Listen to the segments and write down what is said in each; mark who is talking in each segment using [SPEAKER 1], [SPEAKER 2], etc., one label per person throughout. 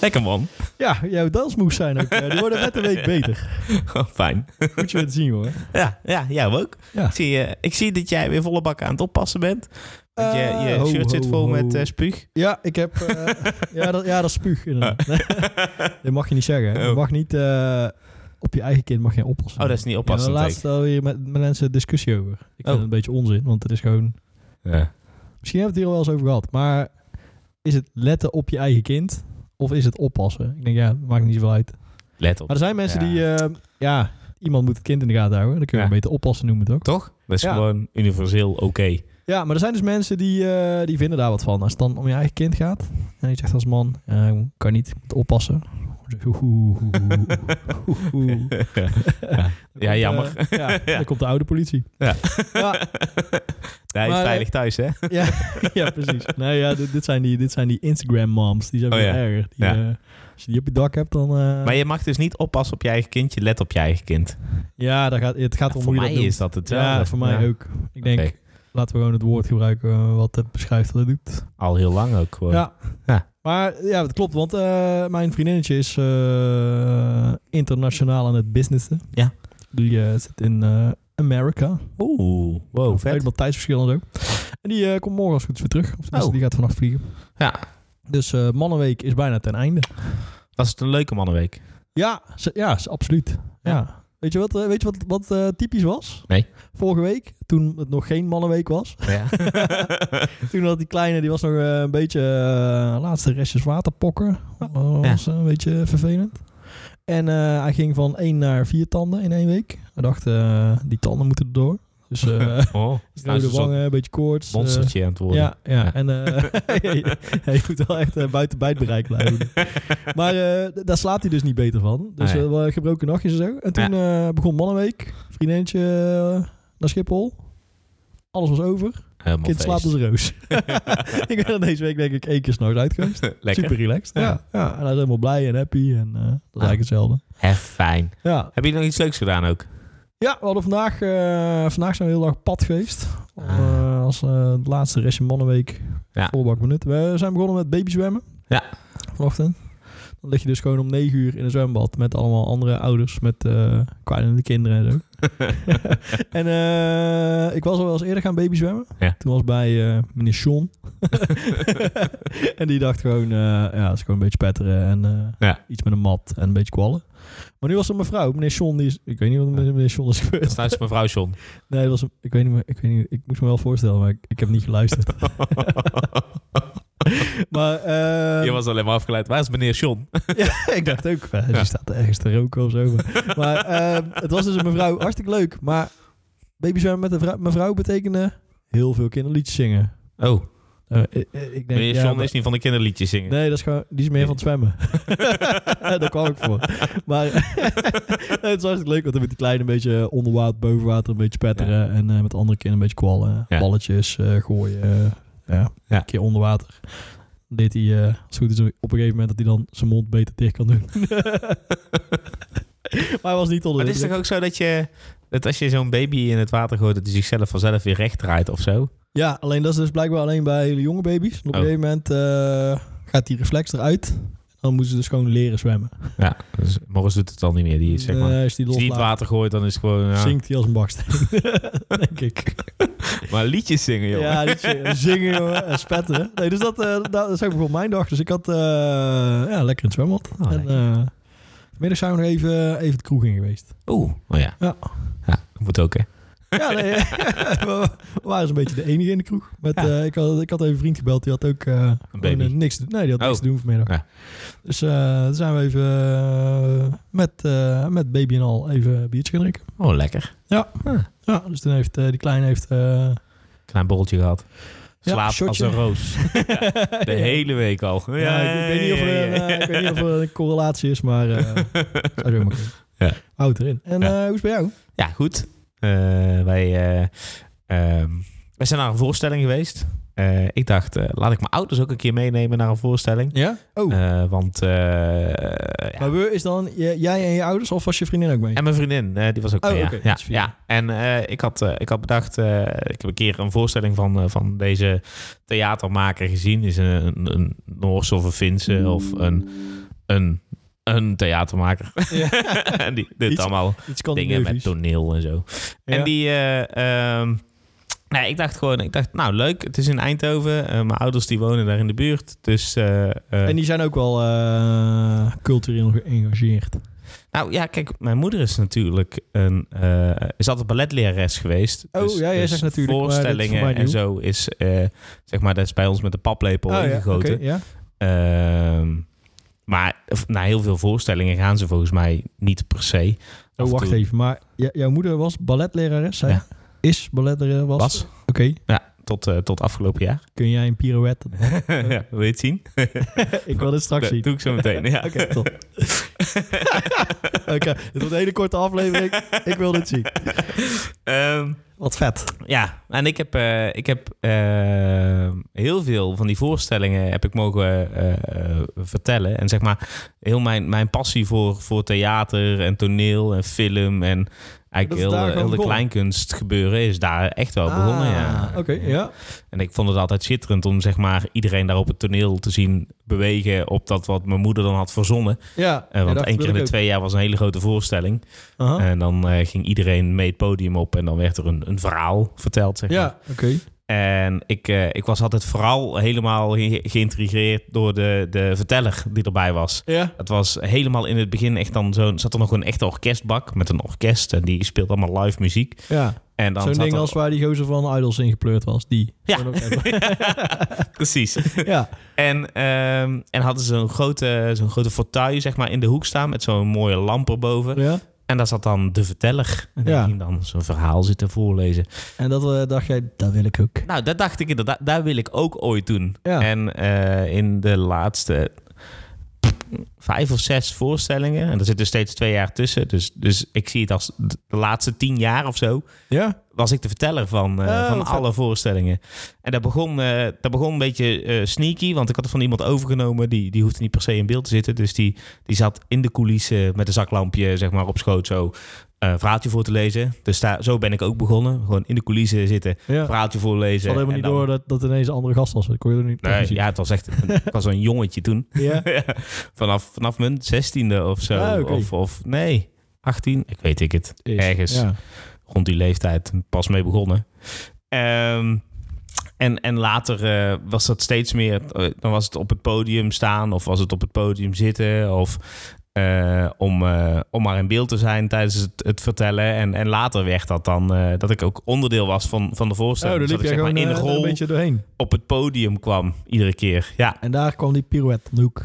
[SPEAKER 1] Lekker man.
[SPEAKER 2] Ja, jouw dansmoes zijn ook. eh, die worden met de week beter.
[SPEAKER 1] Oh, fijn.
[SPEAKER 2] Moet je het zien, hoor.
[SPEAKER 1] Ja, ja, jou ook.
[SPEAKER 2] Ja.
[SPEAKER 1] Ik, zie, eh, ik zie dat jij weer volle bak aan het oppassen bent. Want je, je
[SPEAKER 2] Eh, ho,
[SPEAKER 1] shirt zit
[SPEAKER 2] ho,
[SPEAKER 1] vol
[SPEAKER 2] ho.
[SPEAKER 1] met eh, spuug.
[SPEAKER 2] Ja, ik heb... eh, ja, dat, ja, dat is spuug, inderdaad. dat mag je niet zeggen. hè. Je
[SPEAKER 1] Ah. Oh.
[SPEAKER 2] mag niet... eh, op je eigen kind mag je oppassen.
[SPEAKER 1] Oh, dat is niet
[SPEAKER 2] Ja,
[SPEAKER 1] oppassen.
[SPEAKER 2] daar laatst alweer met, met mensen discussie over. Ik vind
[SPEAKER 1] Oh.
[SPEAKER 2] het een beetje onzin, want het is gewoon... Misschien hebben we het hier al wel eens over gehad, maar... Is het letten op je eigen kind? Of is het oppassen? Ik denk, ja, maakt niet zoveel uit.
[SPEAKER 1] Let op.
[SPEAKER 2] Maar er zijn mensen
[SPEAKER 1] Ja.
[SPEAKER 2] die... eh, ja, iemand moet het kind in de gaten houden. Dan kun je
[SPEAKER 1] Ja.
[SPEAKER 2] hem beter oppassen noemen, toch?
[SPEAKER 1] Toch? Dat is
[SPEAKER 2] Ja.
[SPEAKER 1] gewoon universeel oké.
[SPEAKER 2] Ja, maar er zijn dus mensen die, eh, die vinden daar wat van. Als het dan om je eigen kind gaat. En je zegt als man, eh, kan niet, moet oppassen. Oeh, oeh, oeh, oeh, oeh. Dan
[SPEAKER 1] Ja,
[SPEAKER 2] komt,
[SPEAKER 1] jammer.
[SPEAKER 2] eh, ja, dan komt de oude politie.
[SPEAKER 1] Ja.
[SPEAKER 2] ja,
[SPEAKER 1] Hij is
[SPEAKER 2] Maar, eh,
[SPEAKER 1] veilig thuis, hè?
[SPEAKER 2] ja, ja, precies. Nee, ja, dit, dit zijn die, dit zijn die Instagram moms. Die zijn
[SPEAKER 1] Oh,
[SPEAKER 2] veel
[SPEAKER 1] ja.
[SPEAKER 2] erger. Die,
[SPEAKER 1] Ja.
[SPEAKER 2] eh, als je die op je dak hebt, dan... eh,
[SPEAKER 1] Maar je mag dus niet oppassen op je eigen kind. Je let op je eigen kind.
[SPEAKER 2] ja, daar gaat, het gaat om
[SPEAKER 1] voor
[SPEAKER 2] hoe je
[SPEAKER 1] mij
[SPEAKER 2] dat doet.
[SPEAKER 1] is dat hetzelfde.
[SPEAKER 2] ja, voor mij
[SPEAKER 1] Ja.
[SPEAKER 2] ook. Ik denk,
[SPEAKER 1] Oké.
[SPEAKER 2] laten we gewoon het woord gebruiken eh, wat het beschrijft wat het doet.
[SPEAKER 1] Al heel lang ook gewoon.
[SPEAKER 2] Ja.
[SPEAKER 1] Ja.
[SPEAKER 2] Maar ja, dat klopt, want eh, mijn vriendinnetje is eh, internationaal aan het businessen.
[SPEAKER 1] Ja.
[SPEAKER 2] Die eh, zit in eh Amerika.
[SPEAKER 1] Oeh, wow, Oh, vet.
[SPEAKER 2] Helemaal tijdsverschil en zo. En die eh, komt morgen als het goed is weer terug. Of tenminste,
[SPEAKER 1] Oh.
[SPEAKER 2] die gaat vannacht vliegen.
[SPEAKER 1] Ja.
[SPEAKER 2] Dus eh, Mannenweek is bijna ten einde.
[SPEAKER 1] Was het een leuke mannenweek?
[SPEAKER 2] Ja, ze- ja ze- absoluut. Ja. Weet je wat, eh, weet je wat, wat eh, typisch was?
[SPEAKER 1] Nee.
[SPEAKER 2] Vorige week, toen het nog geen Mannenweek was.
[SPEAKER 1] Ja.
[SPEAKER 2] Toen had die kleine, die was nog eh, een beetje eh, laatste restjes waterpokken. Dat
[SPEAKER 1] Oh.
[SPEAKER 2] was eh, een beetje vervelend. En eh, hij ging van één naar vier tanden in één week. Hij dacht, eh, die tanden moeten erdoor. Dus eh
[SPEAKER 1] oh, is nou
[SPEAKER 2] rode
[SPEAKER 1] zo'n
[SPEAKER 2] wangen, een beetje koorts. eh,
[SPEAKER 1] monstertje aan het worden.
[SPEAKER 2] ja, ja,
[SPEAKER 1] Ja.
[SPEAKER 2] en eh, je moet wel echt eh, buiten bijtbereik blijven. maar eh, d- daar slaapt hij dus niet beter van. Dus
[SPEAKER 1] Ah, ja.
[SPEAKER 2] eh, wel gebroken nachtjes en zo. En toen eh, begon Mannenweek, vriendinnetje eh, naar Schiphol. Alles was over.
[SPEAKER 1] Helemaal
[SPEAKER 2] Kind slaapt als
[SPEAKER 1] feest.
[SPEAKER 2] een roos. ik ben er deze week denk ik één keer s'nachts uit geweest.
[SPEAKER 1] Lekker.
[SPEAKER 2] Super relaxed. Ja.
[SPEAKER 1] Ja.
[SPEAKER 2] Ja. en hij is helemaal blij en happy. En eh, dat is
[SPEAKER 1] Ah.
[SPEAKER 2] eigenlijk hetzelfde.
[SPEAKER 1] Hè, fijn.
[SPEAKER 2] Ja,
[SPEAKER 1] Heb je nog iets leuks gedaan ook?
[SPEAKER 2] ja we hadden vandaag, eh, vandaag zijn we heel dag pad geweest.
[SPEAKER 1] Ah.
[SPEAKER 2] Eh, als eh, het laatste restje mannenweek.
[SPEAKER 1] Ja.
[SPEAKER 2] Volbak benut. We zijn begonnen met babyzwemmen.
[SPEAKER 1] Ja.
[SPEAKER 2] Vanochtend. Dan lig je dus gewoon om negen uur in een zwembad met allemaal andere ouders met eh kwijlende kinderen en zo. en eh, ik was al wel eens eerder gaan babyzwemmen.
[SPEAKER 1] Ja.
[SPEAKER 2] Toen was bij eh, meneer Sean. en die dacht gewoon, eh, ja, het is gewoon een beetje petteren en eh,
[SPEAKER 1] Ja.
[SPEAKER 2] iets met een mat en een beetje kwallen. Maar nu was er een mevrouw, meneer Sean, die is, ik weet niet wat met meneer Sean is
[SPEAKER 1] Dat
[SPEAKER 2] gebeurd.
[SPEAKER 1] is nou eens mevrouw John.
[SPEAKER 2] Nee, dat was een- ik weet niet meer. Ik, weet niet, ik moest me wel voorstellen, maar ik, ik heb niet geluisterd. maar eh,
[SPEAKER 1] Je was alleen maar afgeleid. Waar is meneer John?
[SPEAKER 2] ja, ik dacht ook, eh, die staat ergens te roken of zo. Maar, maar, eh, het was dus een mevrouw, hartstikke leuk. Maar babyzwemmen met een vrou- mevrouw betekende heel veel kinderliedjes zingen.
[SPEAKER 1] Oh,
[SPEAKER 2] Eh, eh, eh, ik denk,
[SPEAKER 1] meneer
[SPEAKER 2] ja,
[SPEAKER 1] John
[SPEAKER 2] maar-
[SPEAKER 1] is niet van de kinderliedjes zingen.
[SPEAKER 2] Nee, dat is gewoon, die is meer van het zwemmen. Daar kwam ik voor. Maar nee, het is hartstikke leuk, want dan met die kleine een beetje onder water, boven water een beetje spetteren. En eh, met de andere kinderen een beetje kwallen.
[SPEAKER 1] Ja.
[SPEAKER 2] Balletjes eh, gooien. eh, ja,
[SPEAKER 1] Ja.
[SPEAKER 2] een keer onder water. Deed hij, eh, als het goed is, op een gegeven moment dat hij dan zijn mond beter dicht kan doen. maar hij was niet onder
[SPEAKER 1] Maar
[SPEAKER 2] de
[SPEAKER 1] het is toch
[SPEAKER 2] indruk.
[SPEAKER 1] ook zo dat je... Dat als je zo'n baby in het water gooit, dat hij zichzelf vanzelf weer recht draait of zo?
[SPEAKER 2] Ja, alleen dat is dus blijkbaar alleen bij hele jonge baby's. En op een
[SPEAKER 1] Oh.
[SPEAKER 2] gegeven moment eh, gaat die reflex eruit. Dan moeten ze dus gewoon leren zwemmen.
[SPEAKER 1] Ja, dus Morris doet het al niet meer. Die, zeg maar,
[SPEAKER 2] Nee, als die
[SPEAKER 1] als je niet het
[SPEAKER 2] loslaat,
[SPEAKER 1] water gooit, dan is het gewoon... ja.
[SPEAKER 2] zingt hij als een baksteen. Denk ik.
[SPEAKER 1] Maar liedjes zingen, joh.
[SPEAKER 2] Ja, niet zingen, zingen jongen, en spetteren. Nee, dus dat, eh dat is ook gewoon mijn dag. Dus ik had eh, ja, lekker in het zwembad.
[SPEAKER 1] Oh,
[SPEAKER 2] en, eh, vanmiddag zijn we nog even, even de kroeg in geweest.
[SPEAKER 1] Oeh, oh ja.
[SPEAKER 2] Ja.
[SPEAKER 1] Ja, dat moet ook, hè.
[SPEAKER 2] Ja, nee, we we waren een beetje de enige in de kroeg. Met,
[SPEAKER 1] Ja.
[SPEAKER 2] eh, ik, had, ik had even een vriend gebeld, die had ook eh, gewoon,
[SPEAKER 1] baby.
[SPEAKER 2] eh, niks te doen. Nee, die had niks
[SPEAKER 1] Oh.
[SPEAKER 2] te doen vanmiddag.
[SPEAKER 1] Ja.
[SPEAKER 2] Dus eh, toen zijn we even eh, met, eh, met baby en al even een biertje gaan drinken.
[SPEAKER 1] Oh, lekker.
[SPEAKER 2] Ja, dus toen heeft eh, die kleine heeft... eh,
[SPEAKER 1] Klein borreltje gehad.
[SPEAKER 2] Ja,
[SPEAKER 1] Slaap als
[SPEAKER 2] shotje.
[SPEAKER 1] een roos. De hele week al. Ja,
[SPEAKER 2] Ja, ik, ik weet niet of er een, eh, ik weet niet of er een correlatie is, maar eh zou je ook maar kunnen.
[SPEAKER 1] Ja.
[SPEAKER 2] Houd erin. En
[SPEAKER 1] Ja.
[SPEAKER 2] eh, hoe is het bij jou?
[SPEAKER 1] Ja, goed. Eh, wij, eh, ehm, wij zijn naar een voorstelling geweest. eh, ik dacht, eh, laat ik mijn ouders ook een keer meenemen naar een voorstelling.
[SPEAKER 2] Ja? Oh.
[SPEAKER 1] Eh, want eh, ja.
[SPEAKER 2] Maar we is dan je- jij en je ouders of was je vriendin ook mee?
[SPEAKER 1] En mijn vriendin, eh, die was ook
[SPEAKER 2] Oh,
[SPEAKER 1] mee, ja.
[SPEAKER 2] oké, dat
[SPEAKER 1] ja,
[SPEAKER 2] is vier.
[SPEAKER 1] ja. En eh, ik, had, eh, ik had bedacht, eh, ik heb een keer een voorstelling van, eh, van deze theatermaker gezien. Is een, een, een Noorse of een Finse of een, een, een theatermaker.
[SPEAKER 2] Ja.
[SPEAKER 1] en die doet
[SPEAKER 2] Iets-
[SPEAKER 1] allemaal
[SPEAKER 2] Iets kan
[SPEAKER 1] dingen met toneel en zo. En die... eh, ehm, Nee, ik dacht gewoon, ik dacht, nou leuk, het is in Eindhoven. Eh, mijn ouders die wonen daar in de buurt. Dus eh, eh,
[SPEAKER 2] En die zijn ook wel eh, cultureel geëngageerd.
[SPEAKER 1] Nou ja, kijk, mijn moeder is natuurlijk een, eh, is altijd balletlerares geweest. Dus
[SPEAKER 2] Oh, ja, jij zegt natuurlijk, maar dat is voor
[SPEAKER 1] Voorstellingen
[SPEAKER 2] mij
[SPEAKER 1] en
[SPEAKER 2] nieuw.
[SPEAKER 1] zo is, eh, zeg maar, dat is bij ons met de paplepel
[SPEAKER 2] Oh, ja.
[SPEAKER 1] ingegoten.
[SPEAKER 2] oké, ja.
[SPEAKER 1] Ehm, maar v- na heel veel voorstellingen gaan ze volgens mij niet per se. Af
[SPEAKER 2] Oh,
[SPEAKER 1] en
[SPEAKER 2] wacht
[SPEAKER 1] toe-
[SPEAKER 2] even. Maar j- jouw moeder was balletlerares, zei je?
[SPEAKER 1] Ja.
[SPEAKER 2] Is balletlerares. Was.
[SPEAKER 1] Was.
[SPEAKER 2] Oké,
[SPEAKER 1] Ja, tot, eh, tot afgelopen jaar.
[SPEAKER 2] kun jij een pirouette?
[SPEAKER 1] ja, wil je het zien?
[SPEAKER 2] ik wil dit straks
[SPEAKER 1] Dat
[SPEAKER 2] zien.
[SPEAKER 1] doe ik zo meteen. Ja.
[SPEAKER 2] Oké, top. Oké, dit wordt een hele korte aflevering. Ik wil dit zien.
[SPEAKER 1] Ehm,
[SPEAKER 2] Wat vet.
[SPEAKER 1] Ja, en ik heb, eh, ik heb eh, heel veel van die voorstellingen heb ik mogen eh, eh, vertellen. En zeg maar, heel mijn, mijn passie voor, voor theater en toneel en film en
[SPEAKER 2] Dat is
[SPEAKER 1] eigenlijk heel,
[SPEAKER 2] daar
[SPEAKER 1] de-
[SPEAKER 2] gewoon
[SPEAKER 1] heel de
[SPEAKER 2] begonnen?
[SPEAKER 1] kleinkunst gebeuren is daar echt wel begonnen. Ja.
[SPEAKER 2] Ah, Oké, ja.
[SPEAKER 1] En ik vond het altijd schitterend om zeg maar iedereen daar op het toneel te zien bewegen op dat wat mijn moeder dan had verzonnen.
[SPEAKER 2] ja.
[SPEAKER 1] Eh,
[SPEAKER 2] Ja,
[SPEAKER 1] want
[SPEAKER 2] dat
[SPEAKER 1] één keer in
[SPEAKER 2] wil
[SPEAKER 1] de
[SPEAKER 2] ik
[SPEAKER 1] twee jaar was een hele grote voorstelling.
[SPEAKER 2] ook. Aha.
[SPEAKER 1] En dan eh, ging iedereen mee het podium op en dan werd er een, een verhaal verteld. Zeg maar.
[SPEAKER 2] Ja, oké.
[SPEAKER 1] En ik, eh, ik was altijd vooral helemaal ge- geïntrigeerd door de, de verteller die erbij was.
[SPEAKER 2] Ja.
[SPEAKER 1] Het was helemaal in het begin echt dan zo'n... Zat er nog een echte orkestbak met een orkest en die speelt allemaal live muziek.
[SPEAKER 2] ja.
[SPEAKER 1] En dan
[SPEAKER 2] Zo'n
[SPEAKER 1] zat
[SPEAKER 2] ding
[SPEAKER 1] er-
[SPEAKER 2] als waar die gozer van Idols in gepleurd was. Die.
[SPEAKER 1] Ja.
[SPEAKER 2] Zo'n ook even.
[SPEAKER 1] Precies.
[SPEAKER 2] ja.
[SPEAKER 1] En, ehm, en hadden ze zo'n grote, zo'n grote fauteuil zeg maar in de hoek staan met zo'n mooie lamp erboven.
[SPEAKER 2] ja.
[SPEAKER 1] En daar zat dan de verteller. En die
[SPEAKER 2] Ja.
[SPEAKER 1] ging dan zo'n verhaal zitten voorlezen.
[SPEAKER 2] En dat eh, dacht jij, dat wil ik ook.
[SPEAKER 1] Nou, dat dacht ik inderdaad. Daar wil ik ook ooit doen.
[SPEAKER 2] Ja.
[SPEAKER 1] En eh, in de laatste vijf of zes voorstellingen... en er zitten steeds twee jaar tussen... dus, dus ik zie het als de laatste tien jaar of zo...
[SPEAKER 2] Ja.
[SPEAKER 1] was ik de verteller van, eh,
[SPEAKER 2] Oh,
[SPEAKER 1] van
[SPEAKER 2] vet.
[SPEAKER 1] alle voorstellingen. En dat begon, eh, dat begon een beetje eh, sneaky... want ik had het van iemand overgenomen... die, die hoefde niet per se in beeld te zitten... dus die, die zat in de coulissen met een zaklampje zeg maar, op schoot... zo eh, een verhaaltje voor te lezen. Dus daar, zo ben ik ook begonnen. Gewoon in de coulissen zitten
[SPEAKER 2] ja. Ik
[SPEAKER 1] verhaaltje voorlezen.
[SPEAKER 2] had helemaal
[SPEAKER 1] en
[SPEAKER 2] niet
[SPEAKER 1] dan-
[SPEAKER 2] door dat, dat ineens een andere gast was. Dat kon je er niet
[SPEAKER 1] Nee,
[SPEAKER 2] niet zien.
[SPEAKER 1] ja, het was echt. Ik was een jongetje toen.
[SPEAKER 2] Ja.
[SPEAKER 1] vanaf, vanaf mijn zestiende of zo.
[SPEAKER 2] Ah, oké.
[SPEAKER 1] of, of nee, 18. Ik weet ik het.
[SPEAKER 2] Is.
[SPEAKER 1] Ergens
[SPEAKER 2] Ja. Oh,
[SPEAKER 1] rond die leeftijd pas mee begonnen. Ehm, en, en later eh, was dat steeds meer. eh, dan was het op het podium staan of was het op het podium zitten. Of eh, om, eh, om maar in beeld te zijn tijdens het, het vertellen. En, en later werd dat dan eh, dat ik ook onderdeel was van, van de
[SPEAKER 2] Oh,
[SPEAKER 1] voorstelling.
[SPEAKER 2] daar
[SPEAKER 1] Dus
[SPEAKER 2] liep
[SPEAKER 1] dat ik
[SPEAKER 2] jij
[SPEAKER 1] zeg
[SPEAKER 2] gewoon
[SPEAKER 1] maar in
[SPEAKER 2] eh, er
[SPEAKER 1] rol
[SPEAKER 2] een beetje doorheen.
[SPEAKER 1] op het podium kwam iedere keer. Ja,
[SPEAKER 2] En daar kwam die pirouette om de hoek.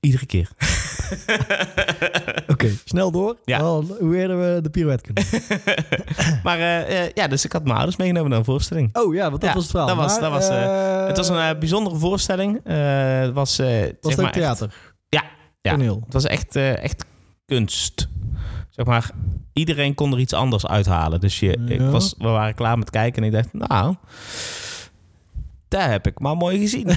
[SPEAKER 1] Iedere keer.
[SPEAKER 2] Oké, snel door.
[SPEAKER 1] Ja.
[SPEAKER 2] Wel, hoe eerder we de pirouette kunnen.
[SPEAKER 1] maar eh, eh, ja, dus ik had mijn ouders meegenomen naar een voorstelling.
[SPEAKER 2] Oh ja, want dat
[SPEAKER 1] Ja,
[SPEAKER 2] was het verhaal.
[SPEAKER 1] dat was- dat
[SPEAKER 2] Maar,
[SPEAKER 1] was,
[SPEAKER 2] eh,
[SPEAKER 1] het was een eh, bijzondere voorstelling. Eh, het was, eh,
[SPEAKER 2] Was
[SPEAKER 1] zeg
[SPEAKER 2] het ook
[SPEAKER 1] maar echt-
[SPEAKER 2] theater?
[SPEAKER 1] Ja, ja.
[SPEAKER 2] Toneel.
[SPEAKER 1] het was echt, eh, echt kunst. Zeg maar, iedereen kon er iets anders uithalen. Dus je, ik
[SPEAKER 2] Ja.
[SPEAKER 1] was, we waren klaar met kijken en ik dacht, nou, daar heb ik maar mooi gezien.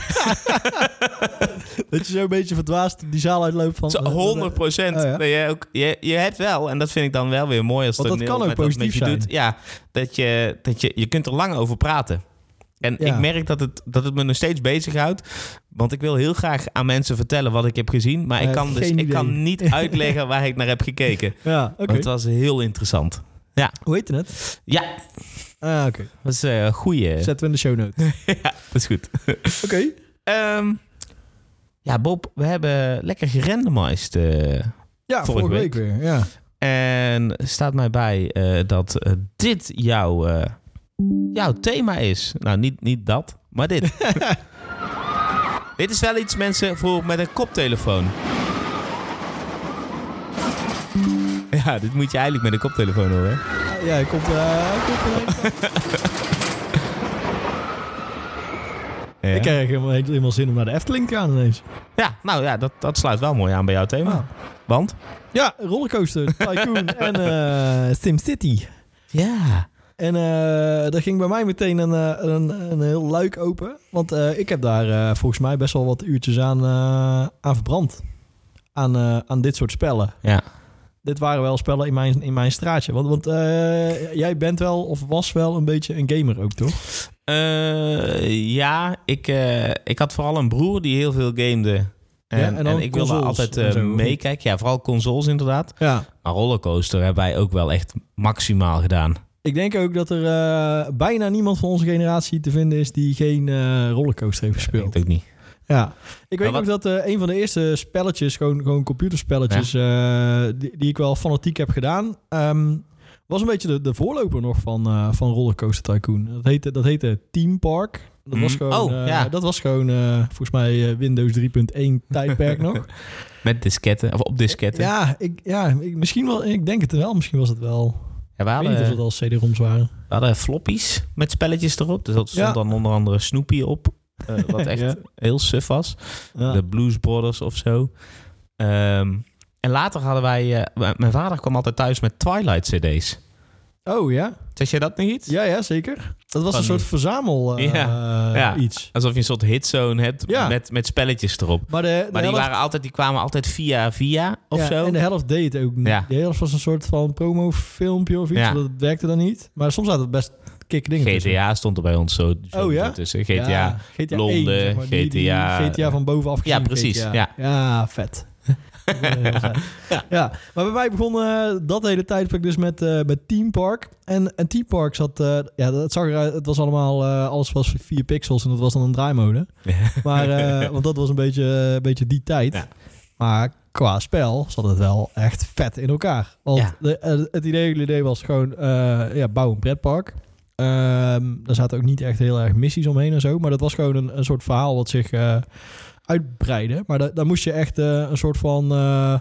[SPEAKER 2] Dat je zo'n beetje verdwaasd die zaal uitloopt van...
[SPEAKER 1] Zo, 100 procent.
[SPEAKER 2] Oh ja.
[SPEAKER 1] je, ook- je, je hebt wel, en dat vind ik dan wel weer mooi als
[SPEAKER 2] Want dat
[SPEAKER 1] toneel.
[SPEAKER 2] kan ook
[SPEAKER 1] met dat
[SPEAKER 2] positief
[SPEAKER 1] met je
[SPEAKER 2] zijn.
[SPEAKER 1] Doet, ja, dat je, dat je, je kunt er lang over praten. En
[SPEAKER 2] Ja.
[SPEAKER 1] ik merk dat het, dat het me nog steeds bezighoudt. Want ik wil heel graag aan mensen vertellen wat ik heb gezien. Maar
[SPEAKER 2] Ja,
[SPEAKER 1] ik kan, dus,
[SPEAKER 2] geen
[SPEAKER 1] ik
[SPEAKER 2] idee.
[SPEAKER 1] kan niet uitleggen waar ik naar heb gekeken.
[SPEAKER 2] Ja, oké.
[SPEAKER 1] Want eh, het was heel interessant.
[SPEAKER 2] Hoe heette het?
[SPEAKER 1] Ja,
[SPEAKER 2] Ah, oké.
[SPEAKER 1] dat is eh, een goeie.
[SPEAKER 2] Zetten we in de show notes.
[SPEAKER 1] ja, dat is goed.
[SPEAKER 2] Oké.
[SPEAKER 1] Ehm, ja, Bob, we hebben lekker gerandomized eh,
[SPEAKER 2] Ja,
[SPEAKER 1] Vorige
[SPEAKER 2] vorige week
[SPEAKER 1] week.
[SPEAKER 2] weer. Ja.
[SPEAKER 1] En staat mij bij eh, dat eh, dit jouw, eh, jouw thema is. Nou, niet, niet dat, maar dit. dit is wel iets, mensen, voor met een koptelefoon. Ja, dit moet je eigenlijk met een koptelefoon horen. hè?
[SPEAKER 2] Ja, hij komt... eh, hij komt er even-
[SPEAKER 1] Ja.
[SPEAKER 2] Ik krijg helemaal, helemaal zin om naar de Efteling te gaan ineens.
[SPEAKER 1] Ja, nou ja, dat, dat sluit wel mooi aan bij jouw thema.
[SPEAKER 2] Ah.
[SPEAKER 1] Want?
[SPEAKER 2] Ja, rollercoaster, Tycoon en eh SimCity.
[SPEAKER 1] Ja.
[SPEAKER 2] En eh er ging bij mij meteen een, eh, een, een heel luik open. Want eh, ik heb daar eh, volgens mij best wel wat uurtjes aan, eh, aan verbrand. Aan, eh, aan dit soort spellen.
[SPEAKER 1] Ja.
[SPEAKER 2] Dit waren wel spellen in mijn, in mijn straatje. Want, want eh, jij bent wel of was wel een beetje een gamer ook, toch?
[SPEAKER 1] Eh, ja, ik, eh, ik had vooral een broer die heel veel gamede. En,
[SPEAKER 2] Ja, en
[SPEAKER 1] en,
[SPEAKER 2] dan
[SPEAKER 1] ik wilde
[SPEAKER 2] consoles
[SPEAKER 1] altijd
[SPEAKER 2] en
[SPEAKER 1] eh,
[SPEAKER 2] zo, of niet?
[SPEAKER 1] meekijken. Ja, vooral consoles inderdaad.
[SPEAKER 2] Ja.
[SPEAKER 1] Maar rollercoaster hebben wij ook wel echt maximaal gedaan.
[SPEAKER 2] Ik denk ook dat er eh, bijna niemand van onze generatie te vinden is die geen eh, rollercoaster heeft
[SPEAKER 1] Ik
[SPEAKER 2] gespeeld.
[SPEAKER 1] weet ook niet.
[SPEAKER 2] Ja. Ik weet
[SPEAKER 1] Maar
[SPEAKER 2] ook dat eh, een van de eerste spelletjes, gewoon, gewoon computerspelletjes, eh, die, die ik wel fanatiek heb gedaan, ehm, was een beetje de, de voorloper nog van, eh, van Rollercoaster Tycoon. Dat heette, dat heette Team Park. Dat
[SPEAKER 1] Mm.
[SPEAKER 2] was gewoon,
[SPEAKER 1] Oh,
[SPEAKER 2] eh,
[SPEAKER 1] ja.
[SPEAKER 2] dat was gewoon eh, volgens mij eh, Windows 3.1 tijdperk nog.
[SPEAKER 1] Met disketten, of op disketten. Ja,
[SPEAKER 2] Ja, ik, ja ik, misschien wel, ik denk het wel. Misschien was het wel.
[SPEAKER 1] we,
[SPEAKER 2] Ik weet
[SPEAKER 1] hadden,
[SPEAKER 2] niet of het al CD-ROMs waren.
[SPEAKER 1] we hadden floppies met spelletjes erop. Dus dat stond
[SPEAKER 2] Ja.
[SPEAKER 1] dan onder andere Snoopy op. eh, wat echt
[SPEAKER 2] Ja.
[SPEAKER 1] heel suf was.
[SPEAKER 2] Ja.
[SPEAKER 1] de Blues Brothers of zo. Ehm, en later hadden wij... eh, m- mijn vader kwam altijd thuis met Twilight CD's.
[SPEAKER 2] Oh ja?
[SPEAKER 1] Zeg jij dat nog iets?
[SPEAKER 2] Ja, ja, zeker. Dat was
[SPEAKER 1] Van
[SPEAKER 2] een soort
[SPEAKER 1] die-
[SPEAKER 2] verzamel eh,
[SPEAKER 1] ja.
[SPEAKER 2] iets.
[SPEAKER 1] Alsof je een soort hitzone hebt
[SPEAKER 2] Ja.
[SPEAKER 1] met, met spelletjes erop.
[SPEAKER 2] Maar, de, de
[SPEAKER 1] Maar die,
[SPEAKER 2] helft-
[SPEAKER 1] waren altijd, die kwamen altijd via via of
[SPEAKER 2] ja,
[SPEAKER 1] zo.
[SPEAKER 2] En eh, de helft deed het ook niet.
[SPEAKER 1] Ja.
[SPEAKER 2] De helft was een soort van promofilmpje of iets.
[SPEAKER 1] Ja.
[SPEAKER 2] Dat werkte dan niet. Maar soms had het best kikke dingen tussen.
[SPEAKER 1] GTA stond er bij ons zo, zo
[SPEAKER 2] Oh, ja?
[SPEAKER 1] tussen. GTA.
[SPEAKER 2] Ja,
[SPEAKER 1] Ja.
[SPEAKER 2] GTA
[SPEAKER 1] Londen,
[SPEAKER 2] 1, zeg maar. Die- die
[SPEAKER 1] GTA.
[SPEAKER 2] GTA van bovenaf gezien.
[SPEAKER 1] Ja, precies,
[SPEAKER 2] GTA.
[SPEAKER 1] ja.
[SPEAKER 2] vet. Dat is heel vet. ja, maar bij mij begon eh, dat hele tijdperk dus met, eh met Team Park. En, en Team Park zat, eh, ja, dat zag eruit, het was allemaal, eh, alles was 4 pixels en dat was dan een draaimode. Maar, eh, want dat was een beetje, eh, een beetje die tijd.
[SPEAKER 1] Ja.
[SPEAKER 2] Maar qua spel zat het wel echt vet in elkaar. Want
[SPEAKER 1] Ja.
[SPEAKER 2] de- eh, het idee, het idee was gewoon, eh ja, bouw een pretpark. Ehm daar zaten ook niet echt heel erg missies omheen en zo. Maar dat was gewoon een, een soort verhaal wat zich eh, uitbreidde. Maar da- daar moest je echt eh, een soort van eh,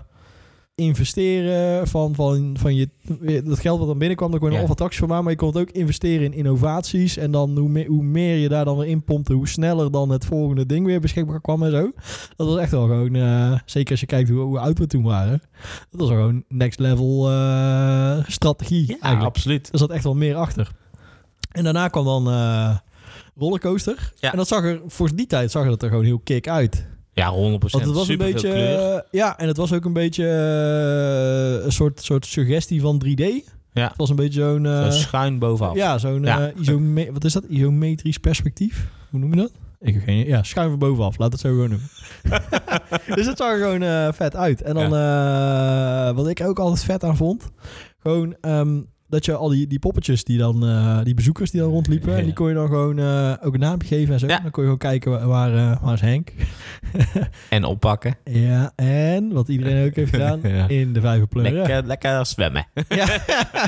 [SPEAKER 2] investeren van, van, van je... Dat geld wat dan binnenkwam, daar kon je
[SPEAKER 1] Ja.
[SPEAKER 2] of attracties van maken. Maar je kon het ook investeren in innovaties. En dan hoe, meer, hoe meer je daar dan weer in pompte... hoe sneller dan het volgende ding weer beschikbaar kwam en zo. Dat was echt wel gewoon... eh, zeker als je kijkt hoe, hoe oud we toen waren. Dat was wel gewoon next level eh, strategie
[SPEAKER 1] Ja,
[SPEAKER 2] eigenlijk.
[SPEAKER 1] absoluut.
[SPEAKER 2] Er zat echt wel meer achter. En daarna kwam dan eh, Rollercoaster.
[SPEAKER 1] Ja.
[SPEAKER 2] En dat zag er, voor die tijd zag er dat er gewoon heel kick uit.
[SPEAKER 1] Ja, 100%.
[SPEAKER 2] Want het was een
[SPEAKER 1] Superveel
[SPEAKER 2] beetje...
[SPEAKER 1] kleur.
[SPEAKER 2] eh, ja, en het was ook een beetje eh, een soort, soort suggestie van 3D.
[SPEAKER 1] Ja.
[SPEAKER 2] Het was een beetje zo'n... eh,
[SPEAKER 1] Zo schuin bovenaf.
[SPEAKER 2] ja, zo'n
[SPEAKER 1] Ja.
[SPEAKER 2] eh, isome- wat is dat? isometrisch perspectief? Hoe noem je dat? Ik heb geen Ja, schuin van bovenaf. Laat het zo gewoon noemen. dus het zag er gewoon eh, vet uit. En dan eh, wat ik ook altijd vet aan vond, gewoon ehm, dat je al die, die poppetjes die dan, eh, die bezoekers die dan rondliepen,
[SPEAKER 1] Ja.
[SPEAKER 2] en die kon je dan gewoon eh, ook een naam geven en zo.
[SPEAKER 1] Ja.
[SPEAKER 2] Dan kon je gewoon kijken wa- waar, eh, waar is Henk.
[SPEAKER 1] En oppakken.
[SPEAKER 2] ja, en wat iedereen ook heeft gedaan,
[SPEAKER 1] Ja.
[SPEAKER 2] in de vijverpleuren.
[SPEAKER 1] Lekker, lekker zwemmen.
[SPEAKER 2] Ja.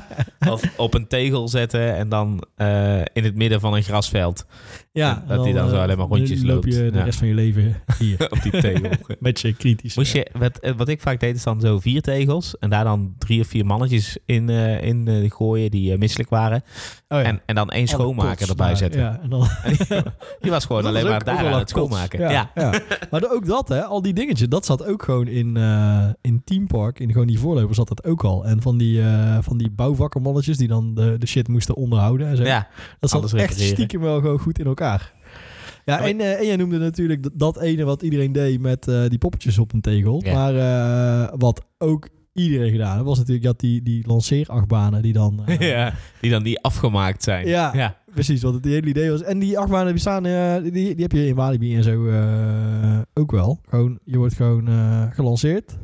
[SPEAKER 1] Of op een tegel zetten en dan eh, in het midden van een grasveld
[SPEAKER 2] ja,
[SPEAKER 1] Dat die dan zo
[SPEAKER 2] eh,
[SPEAKER 1] alleen maar rondjes
[SPEAKER 2] loop je
[SPEAKER 1] loopt.
[SPEAKER 2] de
[SPEAKER 1] Ja.
[SPEAKER 2] rest van je leven hier.
[SPEAKER 1] op die tegel.
[SPEAKER 2] Met je kritisch.
[SPEAKER 1] Moest je, wat, eh, wat ik vaak deed, is dan zo vier tegels en daar dan drie of vier mannetjes in, eh, in eh, gooien die eh, misselijk waren.
[SPEAKER 2] Oh ja.
[SPEAKER 1] En, en dan één schoonmaker erbij zetten.
[SPEAKER 2] Ja, en dan,
[SPEAKER 1] Die was gewoon
[SPEAKER 2] Dat
[SPEAKER 1] alleen
[SPEAKER 2] was
[SPEAKER 1] maar
[SPEAKER 2] ook- ook
[SPEAKER 1] daar
[SPEAKER 2] wel
[SPEAKER 1] aan
[SPEAKER 2] een
[SPEAKER 1] het
[SPEAKER 2] kots.
[SPEAKER 1] schoonmaken.
[SPEAKER 2] Ja,
[SPEAKER 1] Ja.
[SPEAKER 2] ja. Maar dan ook dat, hè, al die dingetjes, dat zat ook gewoon in, eh in Team Park. In gewoon die voorloper zat dat ook al. En van die, eh van die bouwvakkermannetjes die dan de, de shit moesten onderhouden. En zo.
[SPEAKER 1] Ja.
[SPEAKER 2] dat zat
[SPEAKER 1] alles
[SPEAKER 2] echt
[SPEAKER 1] repareren.
[SPEAKER 2] stiekem wel gewoon goed in elkaar. Ja,
[SPEAKER 1] maar-
[SPEAKER 2] en, eh, en jij noemde natuurlijk dat, dat ene wat iedereen deed met eh, die poppetjes op een tegel.
[SPEAKER 1] Ja.
[SPEAKER 2] Maar eh, wat ook iedereen gedaan heeft, was natuurlijk dat die, die lanceerachtbanen die dan... eh,
[SPEAKER 1] Ja, die dan die afgemaakt zijn.
[SPEAKER 2] Ja. Precies, wat het hele idee was. En die achtbanen die staan, eh, die, die heb je in Walibi en zo eh, ook wel. Gewoon, je wordt gewoon eh, gelanceerd.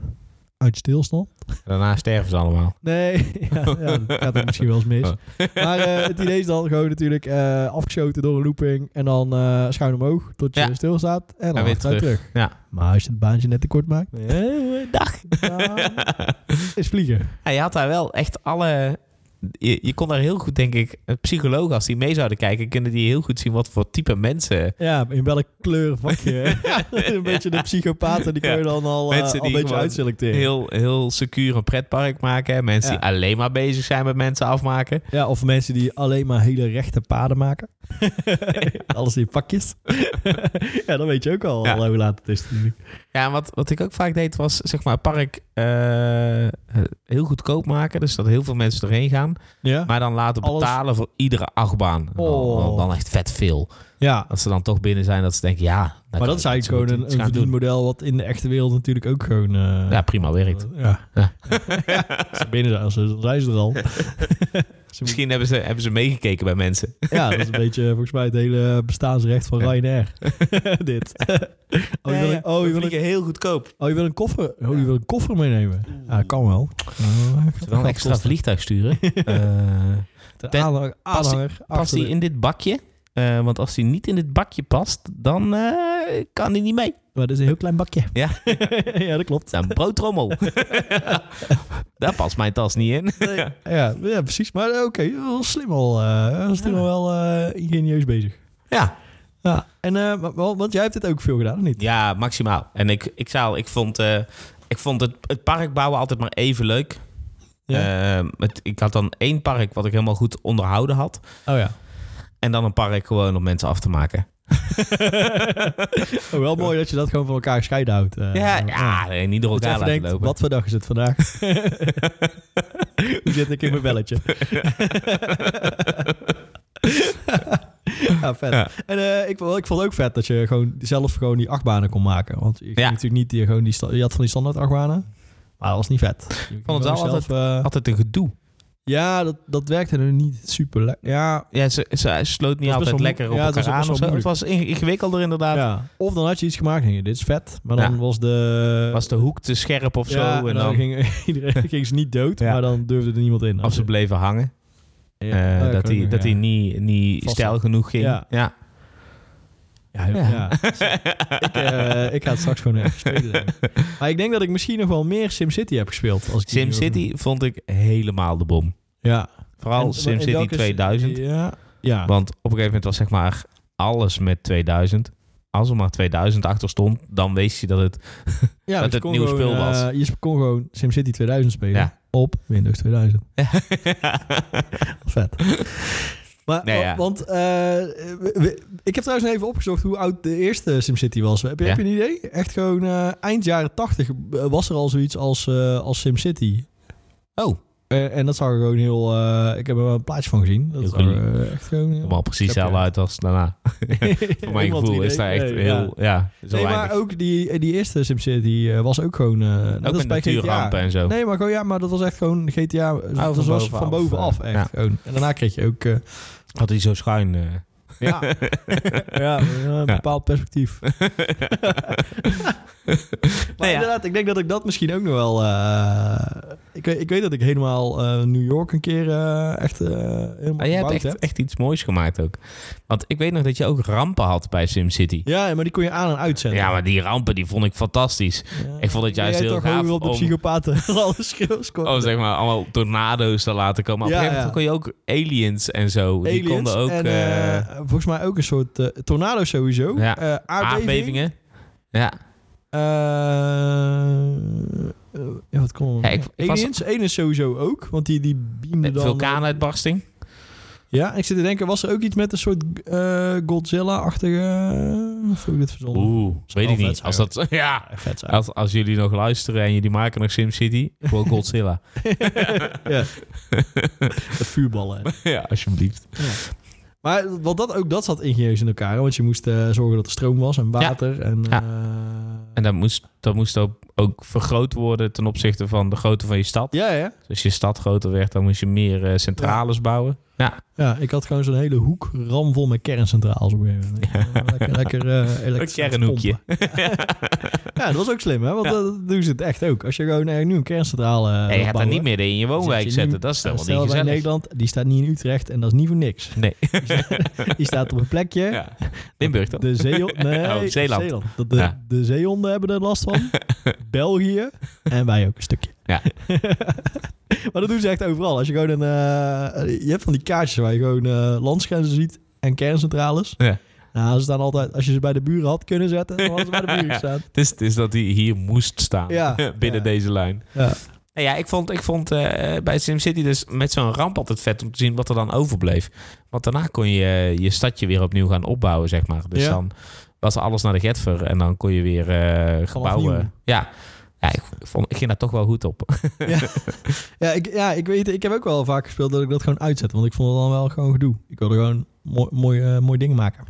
[SPEAKER 2] Uit stilstand.
[SPEAKER 1] Daarna sterven ze allemaal.
[SPEAKER 2] Nee, ja, ja, dat gaat ook misschien wel eens mis.
[SPEAKER 1] Oh.
[SPEAKER 2] Maar eh, het idee is dan gewoon natuurlijk eh, afgeschoten door een looping. En dan eh, schuin omhoog tot je
[SPEAKER 1] Ja.
[SPEAKER 2] stilstaat. En dan
[SPEAKER 1] En weer
[SPEAKER 2] achteruit terug.
[SPEAKER 1] Ja.
[SPEAKER 2] Maar als je het baantje net te kort maakt, Eh,
[SPEAKER 1] dag.
[SPEAKER 2] dan is vliegen.
[SPEAKER 1] Ja, je had daar wel echt alle. Je, je kon daar heel goed, denk ik, een psycholoog, als die mee zouden kijken, kunnen die heel goed zien wat voor type mensen.
[SPEAKER 2] Ja, in welk kleur vakje. een beetje de psychopaten, die kun je
[SPEAKER 1] Ja.
[SPEAKER 2] dan al, eh,
[SPEAKER 1] Mensen
[SPEAKER 2] al
[SPEAKER 1] die
[SPEAKER 2] een beetje
[SPEAKER 1] gewoon
[SPEAKER 2] uitselecteren.
[SPEAKER 1] Heel, heel secuur een pretpark maken. Mensen die
[SPEAKER 2] Ja.
[SPEAKER 1] alleen maar bezig zijn met mensen afmaken.
[SPEAKER 2] Ja, of mensen die alleen maar hele rechte paden maken. Alles in pakjes. ja, dan weet je ook al
[SPEAKER 1] Ja.
[SPEAKER 2] hoe laat het is. natuurlijk.
[SPEAKER 1] Ja, en wat, wat ik ook vaak deed was, zeg maar, het park eh, heel goedkoop maken. Dus dat heel veel mensen erheen gaan. achtbaan.
[SPEAKER 2] Ja.
[SPEAKER 1] Maar dan laten
[SPEAKER 2] Alles?
[SPEAKER 1] betalen voor iedere achtbaan. En dan-
[SPEAKER 2] Oh.
[SPEAKER 1] Dan, dan echt vet veel.
[SPEAKER 2] ja.
[SPEAKER 1] Dat ze dan toch binnen zijn dat ze denken, ja... daar kan
[SPEAKER 2] Maar dat
[SPEAKER 1] ik
[SPEAKER 2] is eigenlijk
[SPEAKER 1] iets-
[SPEAKER 2] gewoon
[SPEAKER 1] iets
[SPEAKER 2] een, een
[SPEAKER 1] gaan doen.
[SPEAKER 2] verdienmodel wat in de echte wereld natuurlijk ook gewoon... eh,
[SPEAKER 1] Ja, prima werkt.
[SPEAKER 2] Ja.
[SPEAKER 1] Ja.
[SPEAKER 2] Als ze binnen zijn, als ze- dan zijn ze er al. Ze
[SPEAKER 1] Misschien hebben ze, hebben ze meegekeken bij mensen.
[SPEAKER 2] moeten- ja, dat is een beetje eh, volgens mij het hele bestaansrecht van
[SPEAKER 1] Ja.
[SPEAKER 2] Ryanair. Dit. oh, je wil, een- Oh, je wil, een-
[SPEAKER 1] heel goedkoop.
[SPEAKER 2] oh, je wil een koffer. Oh, je wil een koffer meenemen. Ja, kan wel. Eh, gaat
[SPEAKER 1] Wel een
[SPEAKER 2] kosten.
[SPEAKER 1] extra vliegtuig sturen. Eh,
[SPEAKER 2] De
[SPEAKER 1] Ten-
[SPEAKER 2] aanhanger-
[SPEAKER 1] past die-
[SPEAKER 2] aanhanger
[SPEAKER 1] past
[SPEAKER 2] achter
[SPEAKER 1] hij
[SPEAKER 2] de-
[SPEAKER 1] in dit bakje? Eh, want als hij niet in dit bakje past, dan eh, kan hij niet mee.
[SPEAKER 2] Maar dat is een heel klein bakje.
[SPEAKER 1] Ja.
[SPEAKER 2] ja, dat klopt.
[SPEAKER 1] Het is een broodtrommel. Daar past mijn tas niet in.
[SPEAKER 2] Ja, ja precies. Maar eh, oké, wel slim al. eh dat is toen al wel eh, ingenieus bezig.
[SPEAKER 1] Ja,
[SPEAKER 2] Ja, en, eh, wa- wa- want jij hebt dit ook veel gedaan, of niet?
[SPEAKER 1] ja maximaal. En ik, ik, zou, ik vond, eh, ik vond het, het park bouwen altijd maar even leuk. Eh, het, ik had dan één park wat ik helemaal goed onderhouden had.
[SPEAKER 2] Oh ja.
[SPEAKER 1] En dan een park gewoon om mensen af te maken.
[SPEAKER 2] Oh, wel mooi dat je dat gewoon van elkaar gescheiden houdt. eh.
[SPEAKER 1] ja, ja, ah, nee, niet door
[SPEAKER 2] Dat je
[SPEAKER 1] elkaar laten
[SPEAKER 2] even denkt,
[SPEAKER 1] lopen.
[SPEAKER 2] wat voor dag is het vandaag? Hoe zit ik in mijn belletje? ja, vet.
[SPEAKER 1] Ja.
[SPEAKER 2] En eh, ik, vond- ik vond het ook vet dat je gewoon zelf gewoon die achtbanen kon maken. Want je, ging
[SPEAKER 1] Ja.
[SPEAKER 2] natuurlijk niet die, gewoon die, sta- je had van die standaard achtbanen. Maar dat was niet vet. Ik
[SPEAKER 1] wel altijd- Altijd een gedoe.
[SPEAKER 2] eh, ja, dat, dat werkte er niet super lekker. Ja,
[SPEAKER 1] Ja, ze, ze sloot niet
[SPEAKER 2] best
[SPEAKER 1] altijd
[SPEAKER 2] wel-
[SPEAKER 1] lekker op
[SPEAKER 2] ja, het was
[SPEAKER 1] elkaar aan.
[SPEAKER 2] ook
[SPEAKER 1] of
[SPEAKER 2] best wel
[SPEAKER 1] zo. Het was ing- ingewikkelder inderdaad.
[SPEAKER 2] ja. Of dan had je iets gemaakt en denk je, dit is vet. Maar dan
[SPEAKER 1] Ja.
[SPEAKER 2] was de...
[SPEAKER 1] Was de hoek te scherp of
[SPEAKER 2] Ja,
[SPEAKER 1] zo?
[SPEAKER 2] en dan, ging, iedereen, ging ze niet dood,
[SPEAKER 1] Ja.
[SPEAKER 2] maar dan durfde er niemand in.
[SPEAKER 1] Of ze bleven hangen.
[SPEAKER 2] Ja.
[SPEAKER 1] Eh,
[SPEAKER 2] Ja,
[SPEAKER 1] dat
[SPEAKER 2] kan
[SPEAKER 1] hij
[SPEAKER 2] ook,
[SPEAKER 1] dat
[SPEAKER 2] ja.
[SPEAKER 1] hij niet, niet
[SPEAKER 2] Vast-
[SPEAKER 1] stijl genoeg ging.
[SPEAKER 2] Ja.
[SPEAKER 1] Ja.
[SPEAKER 2] Ja, heel-
[SPEAKER 1] Ja.
[SPEAKER 2] ja. ik, eh, ik ga het straks gewoon even spelen. denk ik. Maar ik denk dat ik misschien nog wel meer SimCity heb gespeeld. Als ik die nu
[SPEAKER 1] SimCity vond ik helemaal de bom.
[SPEAKER 2] over- Ja. En-
[SPEAKER 1] Vooral
[SPEAKER 2] en
[SPEAKER 1] SimCity
[SPEAKER 2] welke-
[SPEAKER 1] 2000.
[SPEAKER 2] Ja. Ja.
[SPEAKER 1] Want op een gegeven moment was zeg maar alles met 2000. Als er maar 2000 achter stond, dan wist je dat het...
[SPEAKER 2] ja,
[SPEAKER 1] dat
[SPEAKER 2] je
[SPEAKER 1] het
[SPEAKER 2] kon
[SPEAKER 1] nieuwe
[SPEAKER 2] gewoon,
[SPEAKER 1] speel was.
[SPEAKER 2] eh, je kon gewoon SimCity 2000 spelen
[SPEAKER 1] Ja.
[SPEAKER 2] op Windows 2000. Vet. Maar,
[SPEAKER 1] Nee,
[SPEAKER 2] wa-
[SPEAKER 1] ja.
[SPEAKER 2] Want eh, we- we- ik heb trouwens nog even opgezocht hoe oud de eerste SimCity was. Heb je,
[SPEAKER 1] Ja.
[SPEAKER 2] heb je een idee? Echt gewoon eh, eind jaren 80 was er al zoiets als, eh, als SimCity.
[SPEAKER 1] Oh,
[SPEAKER 2] Eh, en dat zag er gewoon heel... eh, ik heb er wel een plaatje van gezien. Dat
[SPEAKER 1] Heel
[SPEAKER 2] zag er eh, echt gewoon heel...
[SPEAKER 1] helemaal precies
[SPEAKER 2] Snap je?
[SPEAKER 1] hetzelfde uit als daarna. Voor mijn
[SPEAKER 2] Iemand
[SPEAKER 1] gevoel
[SPEAKER 2] idee?
[SPEAKER 1] is daar echt
[SPEAKER 2] Nee, ja.
[SPEAKER 1] heel... Ja, zo
[SPEAKER 2] Nee, maar
[SPEAKER 1] weinig.
[SPEAKER 2] ook die, die eerste SimCity eh, was ook gewoon... eh net
[SPEAKER 1] Ook
[SPEAKER 2] als
[SPEAKER 1] met
[SPEAKER 2] bij GTA.
[SPEAKER 1] natuurrampen en zo.
[SPEAKER 2] Nee, maar gewoon, ja, maar dat was echt gewoon GTA. dat
[SPEAKER 1] Oh, van
[SPEAKER 2] was
[SPEAKER 1] bovenaf,
[SPEAKER 2] van bovenaf
[SPEAKER 1] eh,
[SPEAKER 2] echt.
[SPEAKER 1] ja.
[SPEAKER 2] Gewoon. En daarna kreeg je ook... eh,
[SPEAKER 1] Had hij zo schuin... eh,
[SPEAKER 2] ja. ja, een bepaald perspectief. Maar
[SPEAKER 1] Nee, Nou ja.
[SPEAKER 2] inderdaad, ik denk dat ik dat misschien ook nog wel... eh, ik, weet- ik weet dat ik helemaal eh, New York een keer eh, echt eh, helemaal
[SPEAKER 1] Maar jij hebt
[SPEAKER 2] gebouwd
[SPEAKER 1] echt,
[SPEAKER 2] heb.
[SPEAKER 1] echt iets moois gemaakt ook. Want ik weet nog dat je ook rampen had bij SimCity.
[SPEAKER 2] Ja, maar die kon je aan en uitzetten.
[SPEAKER 1] Ja, maar die rampen die vond ik fantastisch.
[SPEAKER 2] Ja.
[SPEAKER 1] Ik vond het
[SPEAKER 2] Ben
[SPEAKER 1] juist
[SPEAKER 2] jij
[SPEAKER 1] heel
[SPEAKER 2] toch
[SPEAKER 1] gaaf
[SPEAKER 2] hoger op de
[SPEAKER 1] om-
[SPEAKER 2] psychopaten alle schreeuws kon.
[SPEAKER 1] Oh, zeg maar, allemaal tornado's te laten komen. Op
[SPEAKER 2] Ja,
[SPEAKER 1] een gegeven moment kon je ook aliens en zo. die
[SPEAKER 2] Aliens
[SPEAKER 1] konden ook
[SPEAKER 2] en,
[SPEAKER 1] eh,
[SPEAKER 2] eh, volgens mij ook een soort eh, tornado sowieso.
[SPEAKER 1] Ja.
[SPEAKER 2] Eh, aardbeving.
[SPEAKER 1] aardbevingen. Ja.
[SPEAKER 2] Eh, eh, ja, wat kon er
[SPEAKER 1] Ja,
[SPEAKER 2] nog
[SPEAKER 1] ik-
[SPEAKER 2] meer?
[SPEAKER 1] ik was-
[SPEAKER 2] aliens, aliens sowieso ook, want die, die beamden dan... eh,
[SPEAKER 1] Vulkaanuitbarsting.
[SPEAKER 2] Ja, ik zit te denken, was er ook iets met een soort eh, Godzilla-achtige... eh, Of heb ik dit verzonnen?
[SPEAKER 1] Oeh, weet
[SPEAKER 2] zou
[SPEAKER 1] ik
[SPEAKER 2] Oh, wel
[SPEAKER 1] niet.
[SPEAKER 2] vet
[SPEAKER 1] Als,
[SPEAKER 2] zijn.
[SPEAKER 1] dat, ja,
[SPEAKER 2] Ja, Vet zijn.
[SPEAKER 1] als, als jullie nog luisteren en jullie maken nog SimCity, gewoon Godzilla.
[SPEAKER 2] ja. Met vuurballen. hè.
[SPEAKER 1] ja, alsjeblieft.
[SPEAKER 2] Maar wat dat, ook dat zat ingenieus in elkaar. hè, Want je moest eh, zorgen dat er stroom was en water. En,
[SPEAKER 1] Ja.
[SPEAKER 2] eh,
[SPEAKER 1] En dat moest, dat moest ook, ook vergroot worden ten opzichte van de grootte van je stad.
[SPEAKER 2] ja, ja.
[SPEAKER 1] Dus als je stad groter werd, dan moest je meer eh, centrales bouwen. Ja,
[SPEAKER 2] Ja, ik had gewoon zo'n hele hoek ramvol met kerncentraals op een gegeven moment. Eh, Lekker, lekker eh elektrisch
[SPEAKER 1] Een kernhoekje.
[SPEAKER 2] pompen. ja, dat was ook slim, hè? Want eh, dat doen ze het echt ook. Als je gewoon eh, nu een kerncentrale
[SPEAKER 1] Nee,
[SPEAKER 2] eh,
[SPEAKER 1] je gaat daar
[SPEAKER 2] bouwen,
[SPEAKER 1] niet meer in je
[SPEAKER 2] zet je
[SPEAKER 1] woonwijk
[SPEAKER 2] nu-
[SPEAKER 1] zetten. Dat is
[SPEAKER 2] eh,
[SPEAKER 1] helemaal
[SPEAKER 2] stel
[SPEAKER 1] niet
[SPEAKER 2] bij
[SPEAKER 1] gezellig.
[SPEAKER 2] Nederland, die staat niet in Utrecht en dat is niet voor niks.
[SPEAKER 1] Nee.
[SPEAKER 2] Die staat op een plekje.
[SPEAKER 1] Ja. Limburg dan?
[SPEAKER 2] De zeehon- nee,
[SPEAKER 1] Oh, Zeeland.
[SPEAKER 2] Dat De,
[SPEAKER 1] Ja.
[SPEAKER 2] de zeehonden hebben er last van. België. En wij ook een stukje.
[SPEAKER 1] Ja.
[SPEAKER 2] maar dat doen ze echt overal. Als je gewoon een... eh, je hebt van die kaartjes waar je gewoon eh, landsgrenzen ziet en kerncentrales.
[SPEAKER 1] Ja.
[SPEAKER 2] Nou, ze staan altijd... Als je ze bij de buren had kunnen zetten, dan hadden ze bij de buren gestaan.
[SPEAKER 1] Het is, het is dat hij hier moest staan
[SPEAKER 2] Ja,
[SPEAKER 1] binnen
[SPEAKER 2] ja.
[SPEAKER 1] deze lijn.
[SPEAKER 2] Ja.
[SPEAKER 1] Nou ja, ik vond, ik vond eh, bij SimCity dus met zo'n ramp altijd vet om te zien wat er dan overbleef. Want daarna kon je eh, je stadje weer opnieuw gaan opbouwen, zeg maar. Dus
[SPEAKER 2] Ja.
[SPEAKER 1] dan was alles naar de Getver en dan kon je weer eh, gebouwen.
[SPEAKER 2] nieuw.
[SPEAKER 1] Ja. Ja, ik, vond, ik ging daar toch wel goed op.
[SPEAKER 2] Ja ik, ja, ik weet, ik heb ook wel vaak gespeeld dat ik dat gewoon uitzet. Want ik vond het dan wel gewoon gedoe. Ik wilde gewoon mooi, mooi, eh, mooi ding maken.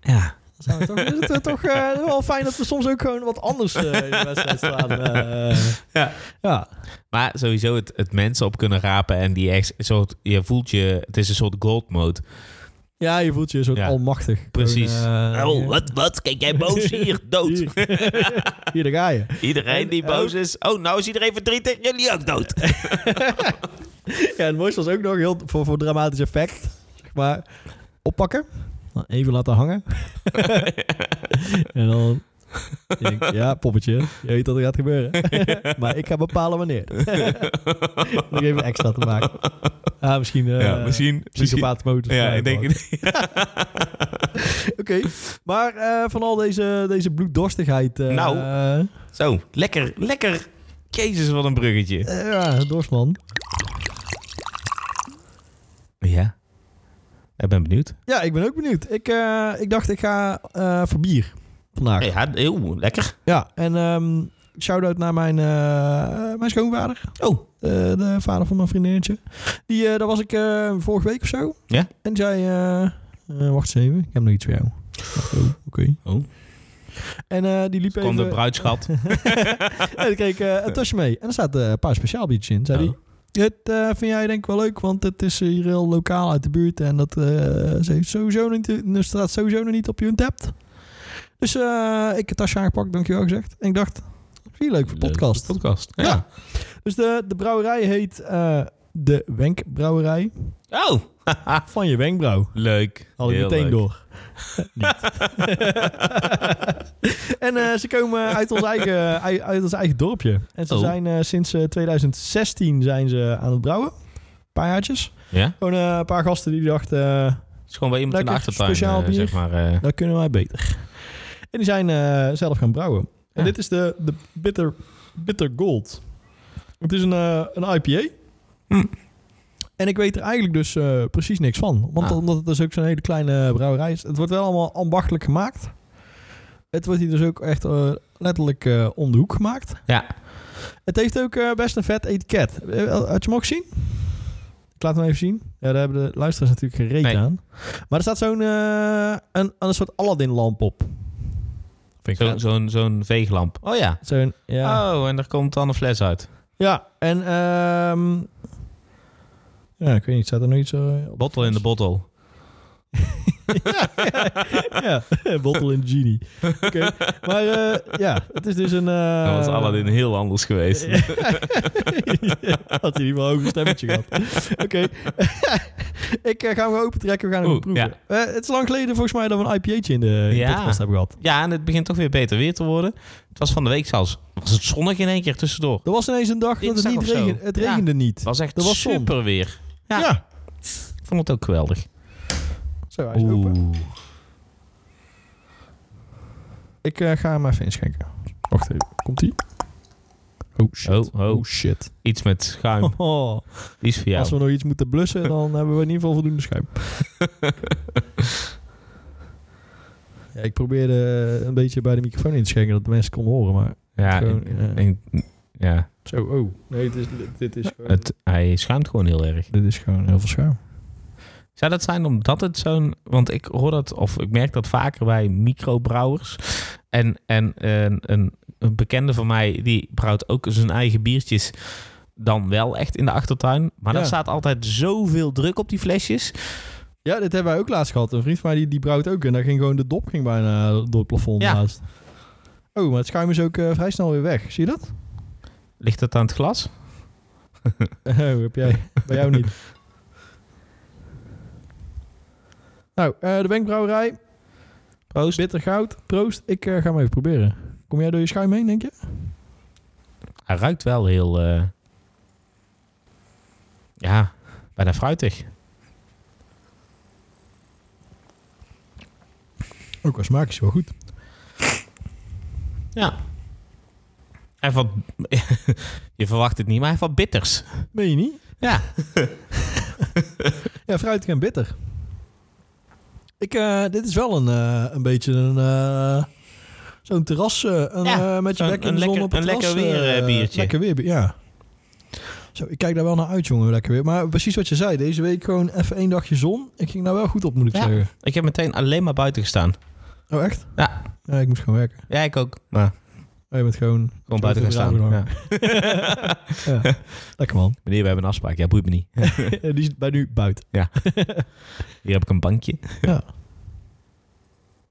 [SPEAKER 1] Ja.
[SPEAKER 2] Zou het toch, is het eh, toch eh, wel fijn dat we soms ook gewoon wat anders eh, in de wedstrijd staan. eh.
[SPEAKER 1] Ja.
[SPEAKER 2] ja.
[SPEAKER 1] Maar sowieso het, het mensen op kunnen rapen en die echt een soort, je voelt je, het is een soort gold mode.
[SPEAKER 2] Ja, je voelt je een soort
[SPEAKER 1] Ja.
[SPEAKER 2] almachtig.
[SPEAKER 1] Precies.
[SPEAKER 2] Gewoon, eh,
[SPEAKER 1] oh, wat, wat? Kijk jij boos hier? Dood.
[SPEAKER 2] Hier, Hier, daar ga je.
[SPEAKER 1] Iedereen die
[SPEAKER 2] En,
[SPEAKER 1] boos is. Oh, nou is iedereen verdrietig. Jullie ook dood.
[SPEAKER 2] Ja, het mooiste was ook nog heel voor, voor dramatisch effect. Zeg maar oppakken. dan Even laten hangen. en dan. denk ik, ja, poppetje. Je weet dat er gaat gebeuren. maar ik ga bepalen wanneer. Nog even extra te maken. Ah, misschien. eh
[SPEAKER 1] ja, misschien. misschien
[SPEAKER 2] Psychopaat modus. eh,
[SPEAKER 1] ja, ik denk.
[SPEAKER 2] Oké. Maar eh, van al deze, deze bloeddorstigheid. eh,
[SPEAKER 1] Nou.
[SPEAKER 2] eh,
[SPEAKER 1] Zo, lekker, lekker. Jezus, wat een bruggetje.
[SPEAKER 2] eh, ja, Dorsman.
[SPEAKER 1] Ja. Ik ben benieuwd.
[SPEAKER 2] Ja, ik ben ook benieuwd. Ik, eh, ik dacht, ik ga eh, voor bier vandaag.
[SPEAKER 1] Ja, heel lekker.
[SPEAKER 2] Ja, en ehm shout-out naar mijn, eh, mijn schoonvader.
[SPEAKER 1] Oh.
[SPEAKER 2] Eh, de vader van mijn vriendinnetje. Die, eh, daar was ik eh, vorige week of zo.
[SPEAKER 1] Ja.
[SPEAKER 2] En zei, eh, eh, wacht eens even, ik heb nog iets voor jou. Ik dacht, Oh, oké.
[SPEAKER 1] Oh.
[SPEAKER 2] En eh, die liep
[SPEAKER 1] Kwam de
[SPEAKER 2] even...
[SPEAKER 1] bruidschat.
[SPEAKER 2] en dan kreeg ik eh, een tasje mee. En er zaten eh, een paar speciaal biertjes in. Zei
[SPEAKER 1] Oh.
[SPEAKER 2] die, dit eh, vind jij denk ik wel leuk, want het is eh, hier heel lokaal uit de buurt. En dat eh, ze heeft sowieso niet, er staat sowieso nog niet op je untapped. Dus eh, ik het tasje aangepakt, dankjewel gezegd. En ik dacht, zie leuk voor podcast.
[SPEAKER 1] podcast. Ja.
[SPEAKER 2] Ja. Dus de, de brouwerij heet eh, de Wenkbrouwerij
[SPEAKER 1] Oh.
[SPEAKER 2] Ah, van je wenkbrauw.
[SPEAKER 1] Leuk.
[SPEAKER 2] Had ik
[SPEAKER 1] Heel
[SPEAKER 2] meteen
[SPEAKER 1] leuk.
[SPEAKER 2] door. Niet. en eh, ze komen uit ons eigen, ei- uit ons eigen dorpje. En ze
[SPEAKER 1] Oh.
[SPEAKER 2] zijn eh, sinds eh, 2016 zijn ze aan het brouwen. Een paar jaartjes.
[SPEAKER 1] Ja.
[SPEAKER 2] Gewoon eh, een paar gasten die dachten, eh,
[SPEAKER 1] Het is gewoon bij iemand in de
[SPEAKER 2] Lekker
[SPEAKER 1] achtertuin.
[SPEAKER 2] speciaal
[SPEAKER 1] eh,
[SPEAKER 2] bier.
[SPEAKER 1] zeg maar. eh.
[SPEAKER 2] dat kunnen wij beter. En die zijn eh, zelf gaan brouwen.
[SPEAKER 1] Ja.
[SPEAKER 2] En dit is de, de bitter, bitter Gold. Het is een, eh, een IPA.
[SPEAKER 1] Hm.
[SPEAKER 2] En ik weet er eigenlijk dus eh, precies niks van. Want
[SPEAKER 1] Ah.
[SPEAKER 2] omdat het dus ook zo'n hele kleine brouwerij is. Het wordt wel allemaal ambachtelijk gemaakt. Het wordt hier dus ook echt eh, letterlijk eh, om de hoek gemaakt.
[SPEAKER 1] Ja.
[SPEAKER 2] Het heeft ook eh, best een vet etiket. Eh, Had je hem ook gezien? Ik laat hem even zien. Ja, daar hebben de luisteraars natuurlijk geen reet
[SPEAKER 1] Nee.
[SPEAKER 2] aan. Maar er staat zo'n eh, een, een soort Aladdin-lamp op. Vind
[SPEAKER 1] Zo- Zo'n zo'n veeglamp. Oh ja.
[SPEAKER 2] Zo'n, ja.
[SPEAKER 1] Oh, en er komt dan een fles uit.
[SPEAKER 2] Ja, en ehm ja, ik weet niet, staat er nog iets eh, op?
[SPEAKER 1] Bottle in de bottle.
[SPEAKER 2] ja, Bottle in Genie. Oké, maar eh, ja, het is dus een... eh,
[SPEAKER 1] Dan was Aladdin heel anders geweest.
[SPEAKER 2] Had hij niet wel een hoger stemmetje gehad. Oké. ik eh, ga hem open trekken. We gaan hem
[SPEAKER 1] Oeh,
[SPEAKER 2] proeven. Eh, het is lang geleden volgens mij dat we een IPA'tje in de in de
[SPEAKER 1] Ja.
[SPEAKER 2] podcast hebben gehad.
[SPEAKER 1] Ja, en het begint toch weer beter weer te worden. Het was van de week zelfs. Was het zonnig in één keer tussendoor?
[SPEAKER 2] Er was ineens een dag dat het
[SPEAKER 1] Dinsdag
[SPEAKER 2] niet
[SPEAKER 1] of zo.
[SPEAKER 2] regende. Het
[SPEAKER 1] Ja.
[SPEAKER 2] regende niet.
[SPEAKER 1] Het was echt
[SPEAKER 2] Er was zon.
[SPEAKER 1] super weer. Ja. Ik vond het ook geweldig.
[SPEAKER 2] Zo, hij is open. Ik eh, ga hem even inschenken. Wacht even. Komt-ie? Oh shit.
[SPEAKER 1] Oh, oh.
[SPEAKER 2] shit.
[SPEAKER 1] Iets met schuim.
[SPEAKER 2] Oh.
[SPEAKER 1] Die is voor jou.
[SPEAKER 2] Als we nog iets moeten blussen, dan hebben we in ieder geval voldoende schuim. ja, ik probeerde eh, een beetje bij de microfoon in te schenken, dat de mensen konden horen, maar...
[SPEAKER 1] Ja,
[SPEAKER 2] gewoon,
[SPEAKER 1] ik-
[SPEAKER 2] eh,
[SPEAKER 1] ik- ja
[SPEAKER 2] Zo, oh. Nee, dit is, dit is gewoon...
[SPEAKER 1] het, hij schuimt gewoon heel erg.
[SPEAKER 2] Dit is gewoon heel veel schuim.
[SPEAKER 1] Zou dat zijn omdat het zo'n... Want ik hoor dat, of ik merk dat vaker bij microbrouwers. En, en een, een, een bekende van mij, die brouwt ook zijn eigen biertjes dan wel echt in de achtertuin. Maar
[SPEAKER 2] Ja.
[SPEAKER 1] daar staat altijd zoveel druk op die flesjes.
[SPEAKER 2] Ja, dit hebben wij ook laatst gehad. Een vriend van mij die, die brouwt ook en daar ging gewoon de dop ging bijna door het plafond
[SPEAKER 1] Ja.
[SPEAKER 2] naast. Oh, maar het schuim is ook eh, vrij snel weer weg. Zie je dat?
[SPEAKER 1] Ligt dat aan het glas?
[SPEAKER 2] Oh, heb jij. Bij jou niet. Nou, eh, de wenkbrauwerij.
[SPEAKER 1] Proost.
[SPEAKER 2] Bitter goud. Proost. Ik eh, ga hem even proberen. Kom jij door je schuim heen, denk je?
[SPEAKER 1] Hij ruikt wel heel... eh, ja, bijna fruitig.
[SPEAKER 2] Ook qua smaak is wel goed.
[SPEAKER 1] Ja. En wat... je verwacht het niet, maar hij heeft wat bitters.
[SPEAKER 2] Meen je niet?
[SPEAKER 1] Ja.
[SPEAKER 2] Ja, fruitig en bitter. Ik, eh, dit is wel een, eh, een beetje een, eh, Zo'n terras eh, een,
[SPEAKER 1] Ja,
[SPEAKER 2] eh, met je
[SPEAKER 1] zo'n-
[SPEAKER 2] bek in
[SPEAKER 1] een
[SPEAKER 2] de zon
[SPEAKER 1] lekker-
[SPEAKER 2] op het
[SPEAKER 1] een lekker
[SPEAKER 2] terras,
[SPEAKER 1] weer, eh,
[SPEAKER 2] eh,
[SPEAKER 1] biertje.
[SPEAKER 2] Lekker weer, ja. Zo, ik kijk daar wel naar uit, jongen. Lekker weer. Maar precies wat je zei. Deze week gewoon even één dagje zon. Ik ging daar wel goed op, moet ik
[SPEAKER 1] Ja.
[SPEAKER 2] zeggen.
[SPEAKER 1] Ik heb meteen alleen maar buiten gestaan.
[SPEAKER 2] Oh, echt?
[SPEAKER 1] Ja.
[SPEAKER 2] Ja, ik moest gewoon werken.
[SPEAKER 1] Ja, ik ook. Maar
[SPEAKER 2] Oh, je bent gewoon...
[SPEAKER 1] gewoon buiten gaan staan. Ja.
[SPEAKER 2] Ja. Ja. Lekker man.
[SPEAKER 1] Meneer, we hebben een afspraak. Ja, boeit me niet.
[SPEAKER 2] Die is bij nu buiten.
[SPEAKER 1] Hier heb ik een bankje.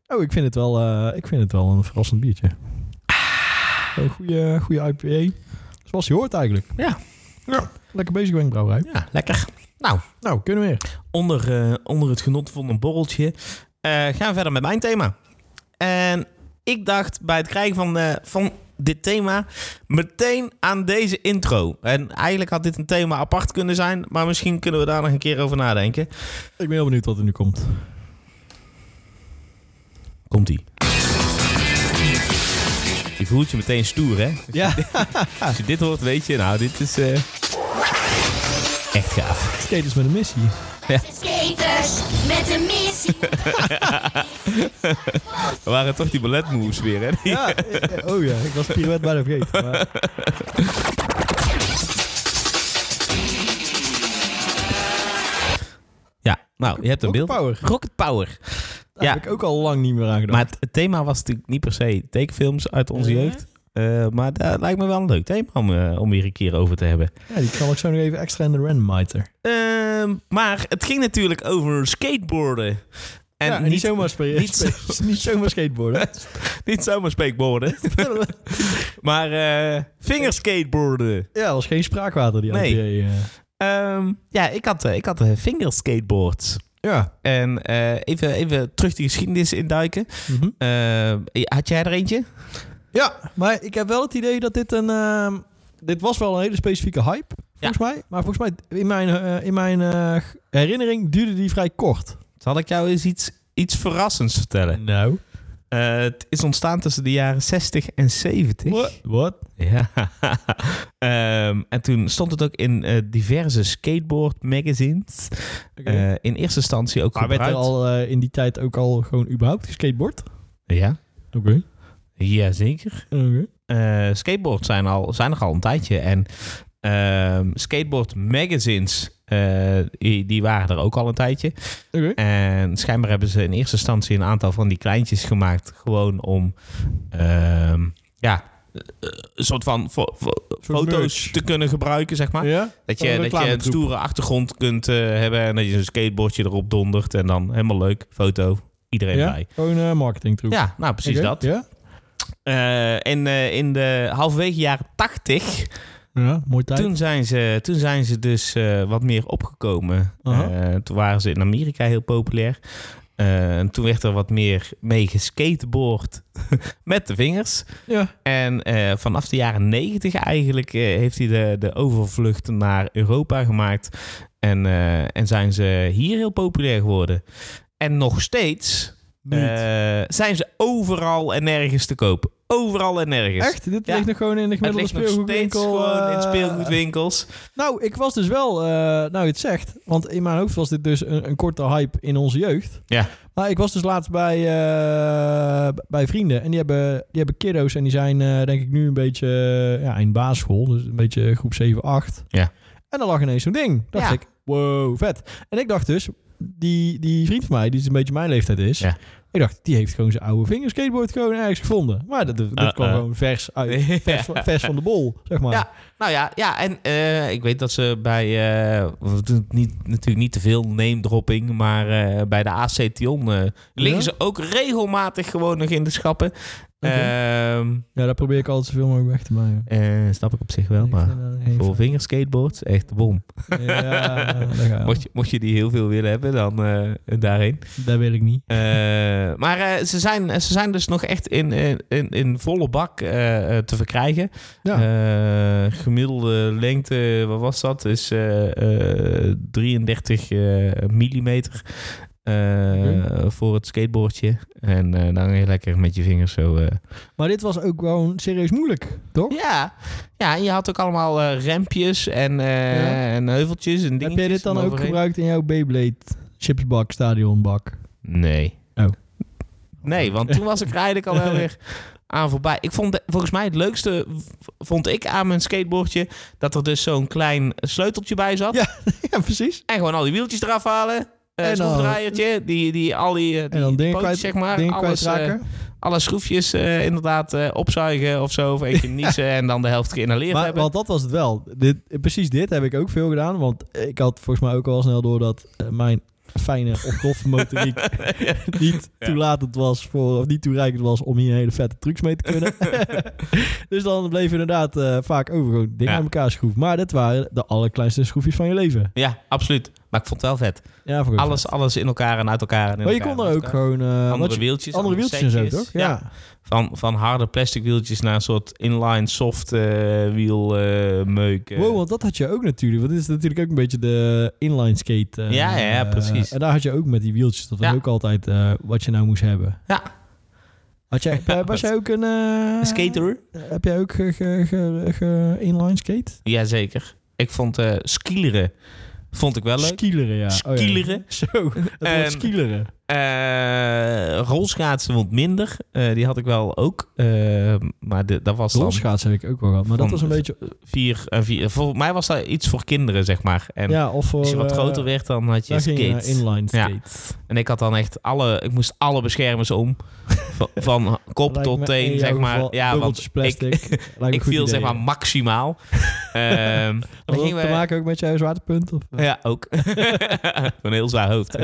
[SPEAKER 2] Oh, ik vind het wel, eh, ik vind het wel een verrassend biertje. Een goede, goede IPA. Zoals je hoort eigenlijk.
[SPEAKER 1] Ja.
[SPEAKER 2] ja. Lekker bezig ben ik, brouwerij.
[SPEAKER 1] Ja, lekker.
[SPEAKER 2] Nou, kunnen we weer.
[SPEAKER 1] Onder, eh, onder het genot van een borreltje eh, gaan we verder met mijn thema. En ik dacht bij het krijgen van, eh, van dit thema meteen aan deze intro. En eigenlijk had dit een thema apart kunnen zijn, maar misschien kunnen we daar nog een keer over nadenken.
[SPEAKER 2] Ik ben heel benieuwd wat er nu komt.
[SPEAKER 1] Komt-ie. Je voelt je meteen stoer, hè?
[SPEAKER 2] Ja,
[SPEAKER 1] Als je dit hoort, weet je, nou, dit is eh, echt gaaf.
[SPEAKER 2] skaters met een missie.
[SPEAKER 3] Skaters met een missie.
[SPEAKER 1] Er waren toch die ballet moves weer, hè? Die-
[SPEAKER 2] Ja, eh, oh ja, ik was de pirouette bijna vergeten. Maar...
[SPEAKER 1] Ja, nou, je hebt een
[SPEAKER 2] Rocket
[SPEAKER 1] beeld.
[SPEAKER 2] Power.
[SPEAKER 1] Rocket Power.
[SPEAKER 2] Daar
[SPEAKER 1] Ja.
[SPEAKER 2] heb ik ook al lang niet meer aan gedacht.
[SPEAKER 1] Maar het, het thema was natuurlijk niet per se tekenfilms uit onze
[SPEAKER 2] Eh?
[SPEAKER 1] jeugd. Eh, maar dat lijkt me wel een leuk thema om, eh, om hier een keer over te hebben.
[SPEAKER 2] Ja, die kan ik zo nog even extra in de randomizer.
[SPEAKER 1] Ehm, maar het ging natuurlijk over skateboarden. En,
[SPEAKER 2] ja, en
[SPEAKER 1] niet,
[SPEAKER 2] niet zomaar, spe-
[SPEAKER 1] niet zo-
[SPEAKER 2] spe- niet zomaar skateboarden.
[SPEAKER 1] niet zomaar speekboarden, maar eh, vingerskateboarden.
[SPEAKER 2] ja, dat was geen spraakwater die
[SPEAKER 1] Nee.
[SPEAKER 2] IPA. eh.
[SPEAKER 1] Ehm, ja, ik had, eh, ik had eh, vingerskateboards.
[SPEAKER 2] Ja.
[SPEAKER 1] En eh, even, even terug de geschiedenis induiken.
[SPEAKER 2] Mhm.
[SPEAKER 1] Eh, had jij er eentje?
[SPEAKER 2] Ja, maar ik heb wel het idee dat dit een... ehm, dit was wel een hele specifieke hype, volgens mij. Maar volgens mij, in mijn, eh, in mijn eh, herinnering duurde die vrij kort.
[SPEAKER 1] Zal ik jou eens iets, iets verrassends vertellen?
[SPEAKER 2] Nou.
[SPEAKER 1] Eh, het is ontstaan tussen de jaren 60 en 70.
[SPEAKER 2] Wat?
[SPEAKER 1] Ja. Ehm, en toen stond het ook in eh, diverse skateboard magazines. Eh, in eerste instantie ook
[SPEAKER 2] maar werd er
[SPEAKER 1] gebruikt.
[SPEAKER 2] al eh, in die tijd ook al gewoon überhaupt geskateboard?
[SPEAKER 1] Ja,
[SPEAKER 2] Oké.
[SPEAKER 1] jazeker.
[SPEAKER 2] Oké.
[SPEAKER 1] Eh, skateboards zijn, al, zijn er al een tijdje. En ehm, skateboard magazines, eh, die, die waren er ook al een tijdje.
[SPEAKER 2] Oké.
[SPEAKER 1] En schijnbaar hebben ze in eerste instantie een aantal van die kleintjes gemaakt. Gewoon om, ehm, ja, eh, eh, een soort van fo- fo-
[SPEAKER 2] soort
[SPEAKER 1] foto's
[SPEAKER 2] merch.
[SPEAKER 1] te kunnen gebruiken, zeg maar.
[SPEAKER 2] Ja?
[SPEAKER 1] Dat
[SPEAKER 2] Van
[SPEAKER 1] je,
[SPEAKER 2] een
[SPEAKER 1] dat je een
[SPEAKER 2] reclametroep.
[SPEAKER 1] stoere achtergrond kunt eh, hebben en dat je een skateboardje erop dondert. En dan helemaal leuk, foto, iedereen
[SPEAKER 2] ja?
[SPEAKER 1] bij.
[SPEAKER 2] Gewoon eh marketing
[SPEAKER 1] Ja, nou precies dat.
[SPEAKER 2] Ja?
[SPEAKER 1] Eh, en eh, in de halverwege jaren tachtig,
[SPEAKER 2] ja, mooi tijd.
[SPEAKER 1] toen, zijn ze- toen zijn ze dus eh, wat meer opgekomen.
[SPEAKER 2] Aha.
[SPEAKER 1] Eh, toen waren ze in Amerika heel populair. Eh, en toen werd er wat meer mee geskateboard met de vingers.
[SPEAKER 2] Ja.
[SPEAKER 1] En eh, vanaf de jaren negentig eigenlijk eh, heeft hij de, de overvlucht naar Europa gemaakt. En, eh, en zijn ze hier heel populair geworden. En nog steeds
[SPEAKER 2] Niet.
[SPEAKER 1] eh, zijn ze overal en nergens te koop. Overal en nergens.
[SPEAKER 2] Echt? Dit
[SPEAKER 1] Ja.
[SPEAKER 2] ligt nog gewoon in de
[SPEAKER 1] Het
[SPEAKER 2] gemiddelde
[SPEAKER 1] ligt nog steeds
[SPEAKER 2] speelgoedwinkel.
[SPEAKER 1] gewoon in
[SPEAKER 2] eh,
[SPEAKER 1] speelgoedwinkels.
[SPEAKER 2] Nou, ik was dus wel, eh, nou je het zegt, want in mijn hoofd was dit dus een, een korte hype in onze jeugd.
[SPEAKER 1] Ja.
[SPEAKER 2] Maar ik was dus laatst bij, eh, b- bij vrienden en die hebben, die hebben kiddo's en die zijn eh, denk ik nu een beetje eh, ja, in basisschool, dus een beetje groep 7, 8.
[SPEAKER 1] Ja.
[SPEAKER 2] En dan lag ineens zo'n ding. Dacht
[SPEAKER 1] Ja.
[SPEAKER 2] ik, wow, vet. En ik dacht dus, die, die vriend van mij, die dus een beetje mijn leeftijd is,
[SPEAKER 1] Ja.
[SPEAKER 2] ik dacht, die heeft gewoon zijn oude vingerskateboard gewoon ergens gevonden. Maar dat, dat
[SPEAKER 1] Uh,
[SPEAKER 2] kwam
[SPEAKER 1] uh.
[SPEAKER 2] gewoon vers, uit, vers, van- vers van de bol, zeg maar.
[SPEAKER 1] Ja. Nou ja, ja en eh, ik weet dat ze bij, eh, we doen niet, natuurlijk niet te veel name dropping, maar eh, bij de AC Tion eh, liggen
[SPEAKER 2] Ja?
[SPEAKER 1] ze ook regelmatig gewoon nog in de schappen.
[SPEAKER 2] Oké.
[SPEAKER 1] Ehm,
[SPEAKER 2] ja, daar probeer ik altijd zoveel mogelijk weg te maken.
[SPEAKER 1] eh, snap ik op zich wel, maar voor vingerskateboards echt de bom.
[SPEAKER 2] Ja, daar ga je.
[SPEAKER 1] Mocht, je, mocht je die heel veel willen hebben, dan eh, daarheen.
[SPEAKER 2] Dat wil ik niet.
[SPEAKER 1] Eh, maar eh, ze, zijn, ze zijn dus nog echt in, in, in, in volle bak eh, eh, te verkrijgen.
[SPEAKER 2] Ja.
[SPEAKER 1] Eh, gemiddelde lengte, wat was dat? Is eh, eh, 33 eh, millimeter eh,
[SPEAKER 2] Oké.
[SPEAKER 1] voor het skateboardje. En eh, dan heel lekker met je vingers zo. eh.
[SPEAKER 2] Maar dit was ook gewoon serieus moeilijk, toch?
[SPEAKER 1] Ja. ja, en je had ook allemaal eh, rempjes en, eh,
[SPEAKER 2] Ja.
[SPEAKER 1] en heuveltjes en
[SPEAKER 2] Heb
[SPEAKER 1] dingetjes.
[SPEAKER 2] jij dit dan ook
[SPEAKER 1] eroverheen.
[SPEAKER 2] gebruikt in jouw Beyblade chipsbak, stadionbak?
[SPEAKER 1] Nee.
[SPEAKER 2] Oh.
[SPEAKER 1] Nee, want toen was ik er eigenlijk al wel weer aan voorbij. Ik vond de- volgens mij het leukste v- vond ik aan mijn skateboardje dat er dus zo'n klein sleuteltje bij zat.
[SPEAKER 2] Ja. ja, precies.
[SPEAKER 1] En gewoon al die wieltjes eraf halen. Eh
[SPEAKER 2] En dan-
[SPEAKER 1] schroefdraaiertje, die, die, al die, eh, die
[SPEAKER 2] En dan dingen
[SPEAKER 1] pootjes,
[SPEAKER 2] kwijt,
[SPEAKER 1] zeg maar.
[SPEAKER 2] dingen
[SPEAKER 1] alles, eh,
[SPEAKER 2] kwijtraken.
[SPEAKER 1] alle schroefjes eh, inderdaad eh, opzuigen of zo. Of eentje niezen en dan de helft geïnhaleerd
[SPEAKER 2] Maar,
[SPEAKER 1] hebben.
[SPEAKER 2] want dat was het wel. Dit, precies dit heb ik ook veel gedaan. Want ik had volgens mij ook al snel door dat eh, mijn fijne ontplofmotoriek niet
[SPEAKER 1] Ja.
[SPEAKER 2] toelatend was voor, of niet toereikend was om hier hele vette trucs mee te kunnen. dus dan bleef inderdaad eh, vaak over gewoon dingen
[SPEAKER 1] Ja.
[SPEAKER 2] aan elkaar schroeven. Maar dit waren de allerkleinste schroefjes van je leven.
[SPEAKER 1] Ja, absoluut. Maar ik vond het wel vet.
[SPEAKER 2] Ja, voor
[SPEAKER 1] Alles, alles in elkaar en uit elkaar. En in
[SPEAKER 2] Maar je
[SPEAKER 1] elkaar
[SPEAKER 2] kon er
[SPEAKER 1] en uit
[SPEAKER 2] ook
[SPEAKER 1] elkaar.
[SPEAKER 2] gewoon... eh, wat
[SPEAKER 1] andere
[SPEAKER 2] je-
[SPEAKER 1] wieltjes.
[SPEAKER 2] andere wieltjes en zo,
[SPEAKER 1] setjes.
[SPEAKER 2] toch? Ja.
[SPEAKER 1] Van, van harde plastic wieltjes naar een soort inline soft eh, wiel eh, meuk. eh.
[SPEAKER 2] Wow, want dat had je ook natuurlijk. Want dit is natuurlijk ook een beetje de inline skate. eh,
[SPEAKER 1] Ja, ja, ja, precies.
[SPEAKER 2] En daar had je ook met die wieltjes. Dat was
[SPEAKER 1] Ja.
[SPEAKER 2] ook altijd eh, wat je nou moest hebben.
[SPEAKER 1] Ja.
[SPEAKER 2] Had jij,
[SPEAKER 1] Ja,
[SPEAKER 2] was
[SPEAKER 1] dat-
[SPEAKER 2] jij ook een... eh,
[SPEAKER 1] Een skater?
[SPEAKER 2] Heb jij ook ge, ge- ge- ge- inline skate?
[SPEAKER 1] Jazeker. Ik vond eh skileren vond ik wel leuk.
[SPEAKER 2] Skieleren, ja. Oh, ja.
[SPEAKER 1] Skieleren.
[SPEAKER 2] Zo, het
[SPEAKER 1] Ehm,
[SPEAKER 2] woord skieleren.
[SPEAKER 1] Eh, rolschaatsen vond minder. Eh, die had ik wel ook. Eh, maar de, dat was dan
[SPEAKER 2] Rolschaats heb ik ook wel gehad. Maar dat
[SPEAKER 1] Van-
[SPEAKER 2] was een beetje...
[SPEAKER 1] vier, eh, vier. Volgens mij was dat iets voor kinderen, zeg maar. En
[SPEAKER 2] ja, of voor,
[SPEAKER 1] als je wat
[SPEAKER 2] eh,
[SPEAKER 1] groter werd, dan had je
[SPEAKER 2] daar ging je naar
[SPEAKER 1] skates.
[SPEAKER 2] inline
[SPEAKER 1] Ja.
[SPEAKER 2] skate.
[SPEAKER 1] En ik had dan echt alle, ik moest alle beschermers om. Van, van kop
[SPEAKER 2] Lijkt me
[SPEAKER 1] tot teen,
[SPEAKER 2] in
[SPEAKER 1] zeg
[SPEAKER 2] jouw
[SPEAKER 1] maar.
[SPEAKER 2] geval
[SPEAKER 1] Ja, want
[SPEAKER 2] dubbeltjes plastic. Lijkt me een
[SPEAKER 1] ik
[SPEAKER 2] goed
[SPEAKER 1] viel
[SPEAKER 2] idee,
[SPEAKER 1] zeg maar
[SPEAKER 2] ja.
[SPEAKER 1] maximaal. Ehm dan
[SPEAKER 2] Had dat
[SPEAKER 1] gingen
[SPEAKER 2] te
[SPEAKER 1] we,
[SPEAKER 2] maken ook met jouw zwaartepunt? Of?
[SPEAKER 1] ja, ook. een heel zwaar hoofd.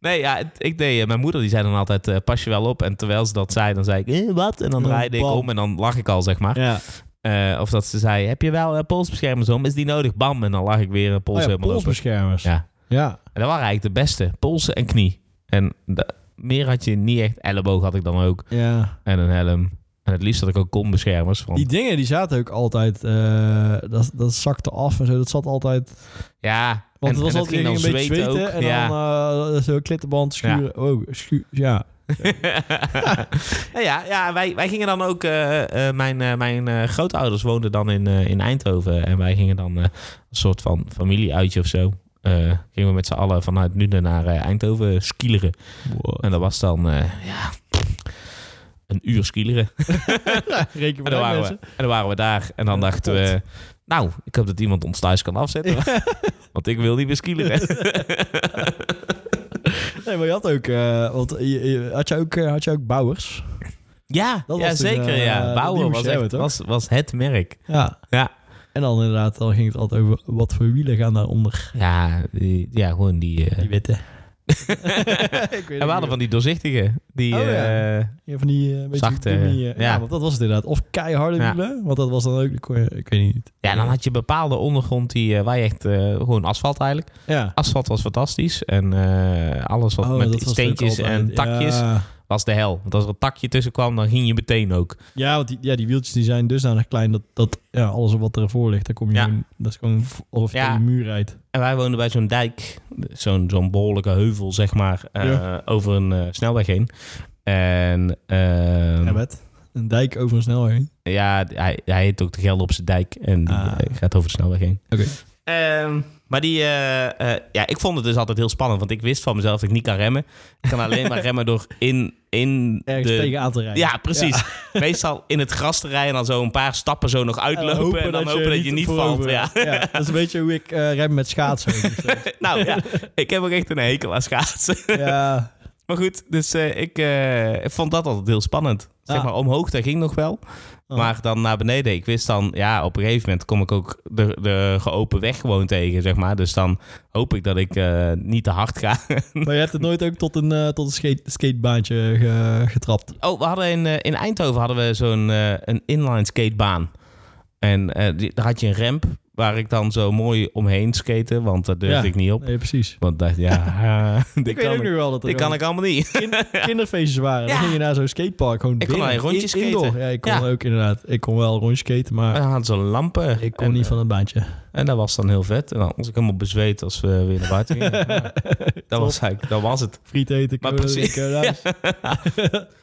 [SPEAKER 1] nee, ja, het- ik deed, eh, mijn moeder die zei dan altijd, eh, pas je wel op. En terwijl ze dat zei, dan zei ik, eh, wat? En dan
[SPEAKER 2] Ja,
[SPEAKER 1] draaide ik
[SPEAKER 2] bam.
[SPEAKER 1] om en dan lag ik al, zeg maar.
[SPEAKER 2] Ja.
[SPEAKER 1] Eh, of dat ze zei, heb je wel eh, polsbeschermers om? Is die nodig? Bam, en dan lag ik weer een pols
[SPEAKER 2] Oh ja,
[SPEAKER 1] helemaal open.
[SPEAKER 2] polsbeschermers.
[SPEAKER 1] Ja.
[SPEAKER 2] ja.
[SPEAKER 1] En dat waren eigenlijk de beste. Polsen en knie. En da- meer had je niet echt. Elleboog had ik dan ook.
[SPEAKER 2] Ja.
[SPEAKER 1] En een helm. En het liefst had ik ook kombeschermers. want-
[SPEAKER 2] Die dingen die zaten ook altijd, eh, dat, dat zakte af en zo. Dat zat altijd,
[SPEAKER 1] ja. en,
[SPEAKER 2] want het was
[SPEAKER 1] en
[SPEAKER 2] altijd ging een beetje zweten,
[SPEAKER 1] ook.
[SPEAKER 2] en
[SPEAKER 1] ja.
[SPEAKER 2] dan eh zo klittenband schuren. Oh, schuur, ja.
[SPEAKER 1] nou ja, ja wij, wij gingen dan ook... eh, eh, mijn eh, mijn eh, grootouders woonden dan in, eh, in Eindhoven. En wij gingen dan eh, een soort van familieuitje of zo. Eh, gingen we met z'n allen vanuit Nuenen naar eh, Eindhoven skileren. En dat was dan... eh, ja, een uur skileren.
[SPEAKER 2] Reken
[SPEAKER 1] En
[SPEAKER 2] maar
[SPEAKER 1] dan,
[SPEAKER 2] uit,
[SPEAKER 1] waren we,
[SPEAKER 2] mensen.
[SPEAKER 1] en dan waren we daar. En dan
[SPEAKER 2] Ja,
[SPEAKER 1] dachten we... Nou, ik hoop dat iemand ons thuis kan afzetten. want ik wil niet meer skileren.
[SPEAKER 2] Nee, maar je had ook, eh, want je, je- had, je ook eh, had je ook bouwers?
[SPEAKER 1] ja,
[SPEAKER 2] Dat
[SPEAKER 1] ja
[SPEAKER 2] was toen,
[SPEAKER 1] zeker.
[SPEAKER 2] eh,
[SPEAKER 1] ja.
[SPEAKER 2] dat
[SPEAKER 1] Bouwen
[SPEAKER 2] nieuws,
[SPEAKER 1] was,
[SPEAKER 2] hè,
[SPEAKER 1] echt-
[SPEAKER 2] we toch?
[SPEAKER 1] was, was het merk.
[SPEAKER 2] Ja.
[SPEAKER 1] Ja.
[SPEAKER 2] En dan inderdaad, dan ging het altijd over wat voor wielen gaan daaronder.
[SPEAKER 1] Ja, die- ja gewoon die... eh,
[SPEAKER 2] Die witte.
[SPEAKER 1] en we hadden van die doorzichtige. Die,
[SPEAKER 2] Oh, ja.
[SPEAKER 1] eh,
[SPEAKER 2] Ja, van die eh, beetje
[SPEAKER 1] Zachte,
[SPEAKER 2] gummi, eh, ja.
[SPEAKER 1] ja.
[SPEAKER 2] want dat was het inderdaad. Of keiharde
[SPEAKER 1] Ja.
[SPEAKER 2] wielen, want dat was dan ook, ik weet niet.
[SPEAKER 1] ja, dan had je bepaalde ondergrond die, eh, waar je echt... eh, gewoon asfalt eigenlijk.
[SPEAKER 2] Ja.
[SPEAKER 1] Asfalt was fantastisch. En eh, alles wat
[SPEAKER 2] Oh, dat
[SPEAKER 1] met
[SPEAKER 2] was
[SPEAKER 1] steentjes
[SPEAKER 2] natuurlijk
[SPEAKER 1] en
[SPEAKER 2] altijd-
[SPEAKER 1] takjes
[SPEAKER 2] Ja,
[SPEAKER 1] was de hel. Want als er een takje tussen kwam, dan ging je meteen ook.
[SPEAKER 2] ja want die, ja, die wieltjes die zijn dusdanig klein dat, dat ja, alles wat ervoor ligt, daar kom je
[SPEAKER 1] Ja.
[SPEAKER 2] gewoon, dat is gewoon v- alsof je
[SPEAKER 1] Ja.
[SPEAKER 2] tegen de muur rijdt.
[SPEAKER 1] En wij woonden bij zo'n dijk, zo'n zo'n behoorlijke heuvel, zeg maar, eh,
[SPEAKER 2] Ja.
[SPEAKER 1] over een eh, snelweg heen. En ehm,
[SPEAKER 2] Ja, Bert. Een dijk over een snelweg heen.
[SPEAKER 1] ja, hij, hij heet ook de Gelderse dijk en die
[SPEAKER 2] Ah.
[SPEAKER 1] eh, gaat over de snelweg heen.
[SPEAKER 2] Oké.
[SPEAKER 1] Ehm, maar die, eh, eh, ja, ik vond het dus altijd heel spannend, want ik wist van mezelf dat ik niet kan remmen. Ik kan alleen maar remmen door in, in
[SPEAKER 2] Ergens
[SPEAKER 1] de...
[SPEAKER 2] tegen aan te rijden.
[SPEAKER 1] Ja, precies. Meestal in het gras te rijden en dan zo een paar stappen zo nog
[SPEAKER 2] En dan
[SPEAKER 1] uitlopen en,
[SPEAKER 2] Eh, hopen
[SPEAKER 1] dan hopen dat je niet valt.
[SPEAKER 2] voorover-
[SPEAKER 1] Ja.
[SPEAKER 2] dat is een beetje hoe ik eh, rem met schaatsen. ook nog steeds.
[SPEAKER 1] Nou ja, ik heb ook echt een hekel aan schaatsen.
[SPEAKER 2] ja.
[SPEAKER 1] Maar goed, dus eh, ik, eh, ik vond dat altijd heel spannend. Zeg
[SPEAKER 2] Ah.
[SPEAKER 1] maar, omhoog, dat ging nog wel.
[SPEAKER 2] Oh.
[SPEAKER 1] Maar dan naar beneden, ik wist dan... Ja, op een gegeven moment kom ik ook de, de geopen weg gewoon tegen, zeg maar. Dus dan hoop ik dat ik eh, niet te hard ga.
[SPEAKER 2] Maar je hebt het nooit ook tot een, eh, tot een skate, skatebaantje ge- getrapt.
[SPEAKER 1] Oh, we hadden in, eh, in Eindhoven hadden we zo'n eh, een inline skatebaan. En eh, die- daar had je een ramp waar ik dan zo mooi omheen skaten. Want daar durfde
[SPEAKER 2] Ja.
[SPEAKER 1] ik niet op.
[SPEAKER 2] Nee, precies.
[SPEAKER 1] Want ik dacht, ja, eh, dit
[SPEAKER 2] Ik weet
[SPEAKER 1] kan
[SPEAKER 2] ook nog
[SPEAKER 1] ik,
[SPEAKER 2] wel dat er
[SPEAKER 1] dit kan
[SPEAKER 2] ook
[SPEAKER 1] ik allemaal niet.
[SPEAKER 2] kinderfeestjes waren. Dan
[SPEAKER 1] Ja.
[SPEAKER 2] ging je naar zo'n skatepark gewoon
[SPEAKER 1] Ik kon
[SPEAKER 2] binnen.
[SPEAKER 1] alleen rondjes
[SPEAKER 2] In- indoor.
[SPEAKER 1] skaten.
[SPEAKER 2] Ja, ik kon
[SPEAKER 1] Ja.
[SPEAKER 2] ook inderdaad. Ik kon wel rondjes skaten,
[SPEAKER 1] En
[SPEAKER 2] maar
[SPEAKER 1] dan hadden ze lampen.
[SPEAKER 2] ik kon
[SPEAKER 1] En, eh,
[SPEAKER 2] niet van een baantje.
[SPEAKER 1] En dat was dan heel vet. En dan was ik helemaal bezweet als we weer naar buiten gingen. Ja, dat, was eigenlijk, dat was het.
[SPEAKER 2] Friet eten,
[SPEAKER 1] Maar
[SPEAKER 2] cola
[SPEAKER 1] precies-
[SPEAKER 2] drinken, nou, dus-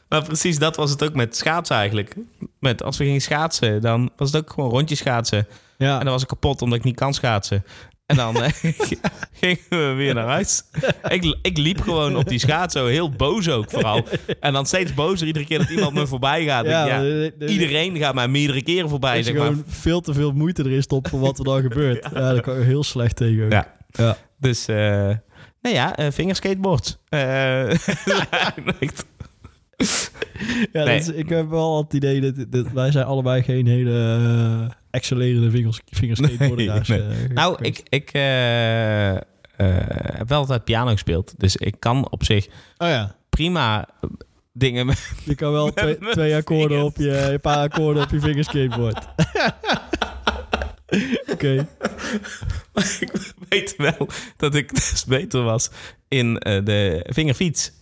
[SPEAKER 1] Maar precies dat was het ook met schaatsen eigenlijk. Met, als we gingen schaatsen, dan was het ook gewoon rondjes schaatsen.
[SPEAKER 2] ja.
[SPEAKER 1] En dan was ik kapot omdat ik niet kan schaatsen. En dan eh, gingen we weer naar huis. Ik, ik liep gewoon op die schaats zo, heel boos ook vooral. En dan steeds bozer iedere keer dat iemand me voorbij gaat. Ja, ja, iedereen gaat mij meerdere keren voorbij,
[SPEAKER 2] is
[SPEAKER 1] zeg maar.
[SPEAKER 2] gewoon veel te veel moeite erin stopt voor wat er dan gebeurt. ja. daar kan je heel slecht tegen. ook.
[SPEAKER 1] Ja.
[SPEAKER 2] Ja.
[SPEAKER 1] Dus, eh nou ja, eh, vingerskateboards. Eh, echt.
[SPEAKER 2] Ja,
[SPEAKER 1] Nee.
[SPEAKER 2] dat is- ik heb wel het idee dat, dat wij zijn allebei geen hele eh, excellerende vingers, vingerskateboarderaars.
[SPEAKER 1] Nee,
[SPEAKER 2] eh,
[SPEAKER 1] nou,
[SPEAKER 2] geweest.
[SPEAKER 1] ik, ik eh, eh, heb wel altijd piano gespeeld. Dus ik kan op zich
[SPEAKER 2] Oh ja,
[SPEAKER 1] prima eh, dingen met...
[SPEAKER 2] je kan wel twee,
[SPEAKER 1] mijn
[SPEAKER 2] twee akkoorden
[SPEAKER 1] vingers.
[SPEAKER 2] op je, een paar akkoorden op je vingerskateboard. Oké.
[SPEAKER 1] ik weet wel dat ik dus beter was in eh, de vingerfiets.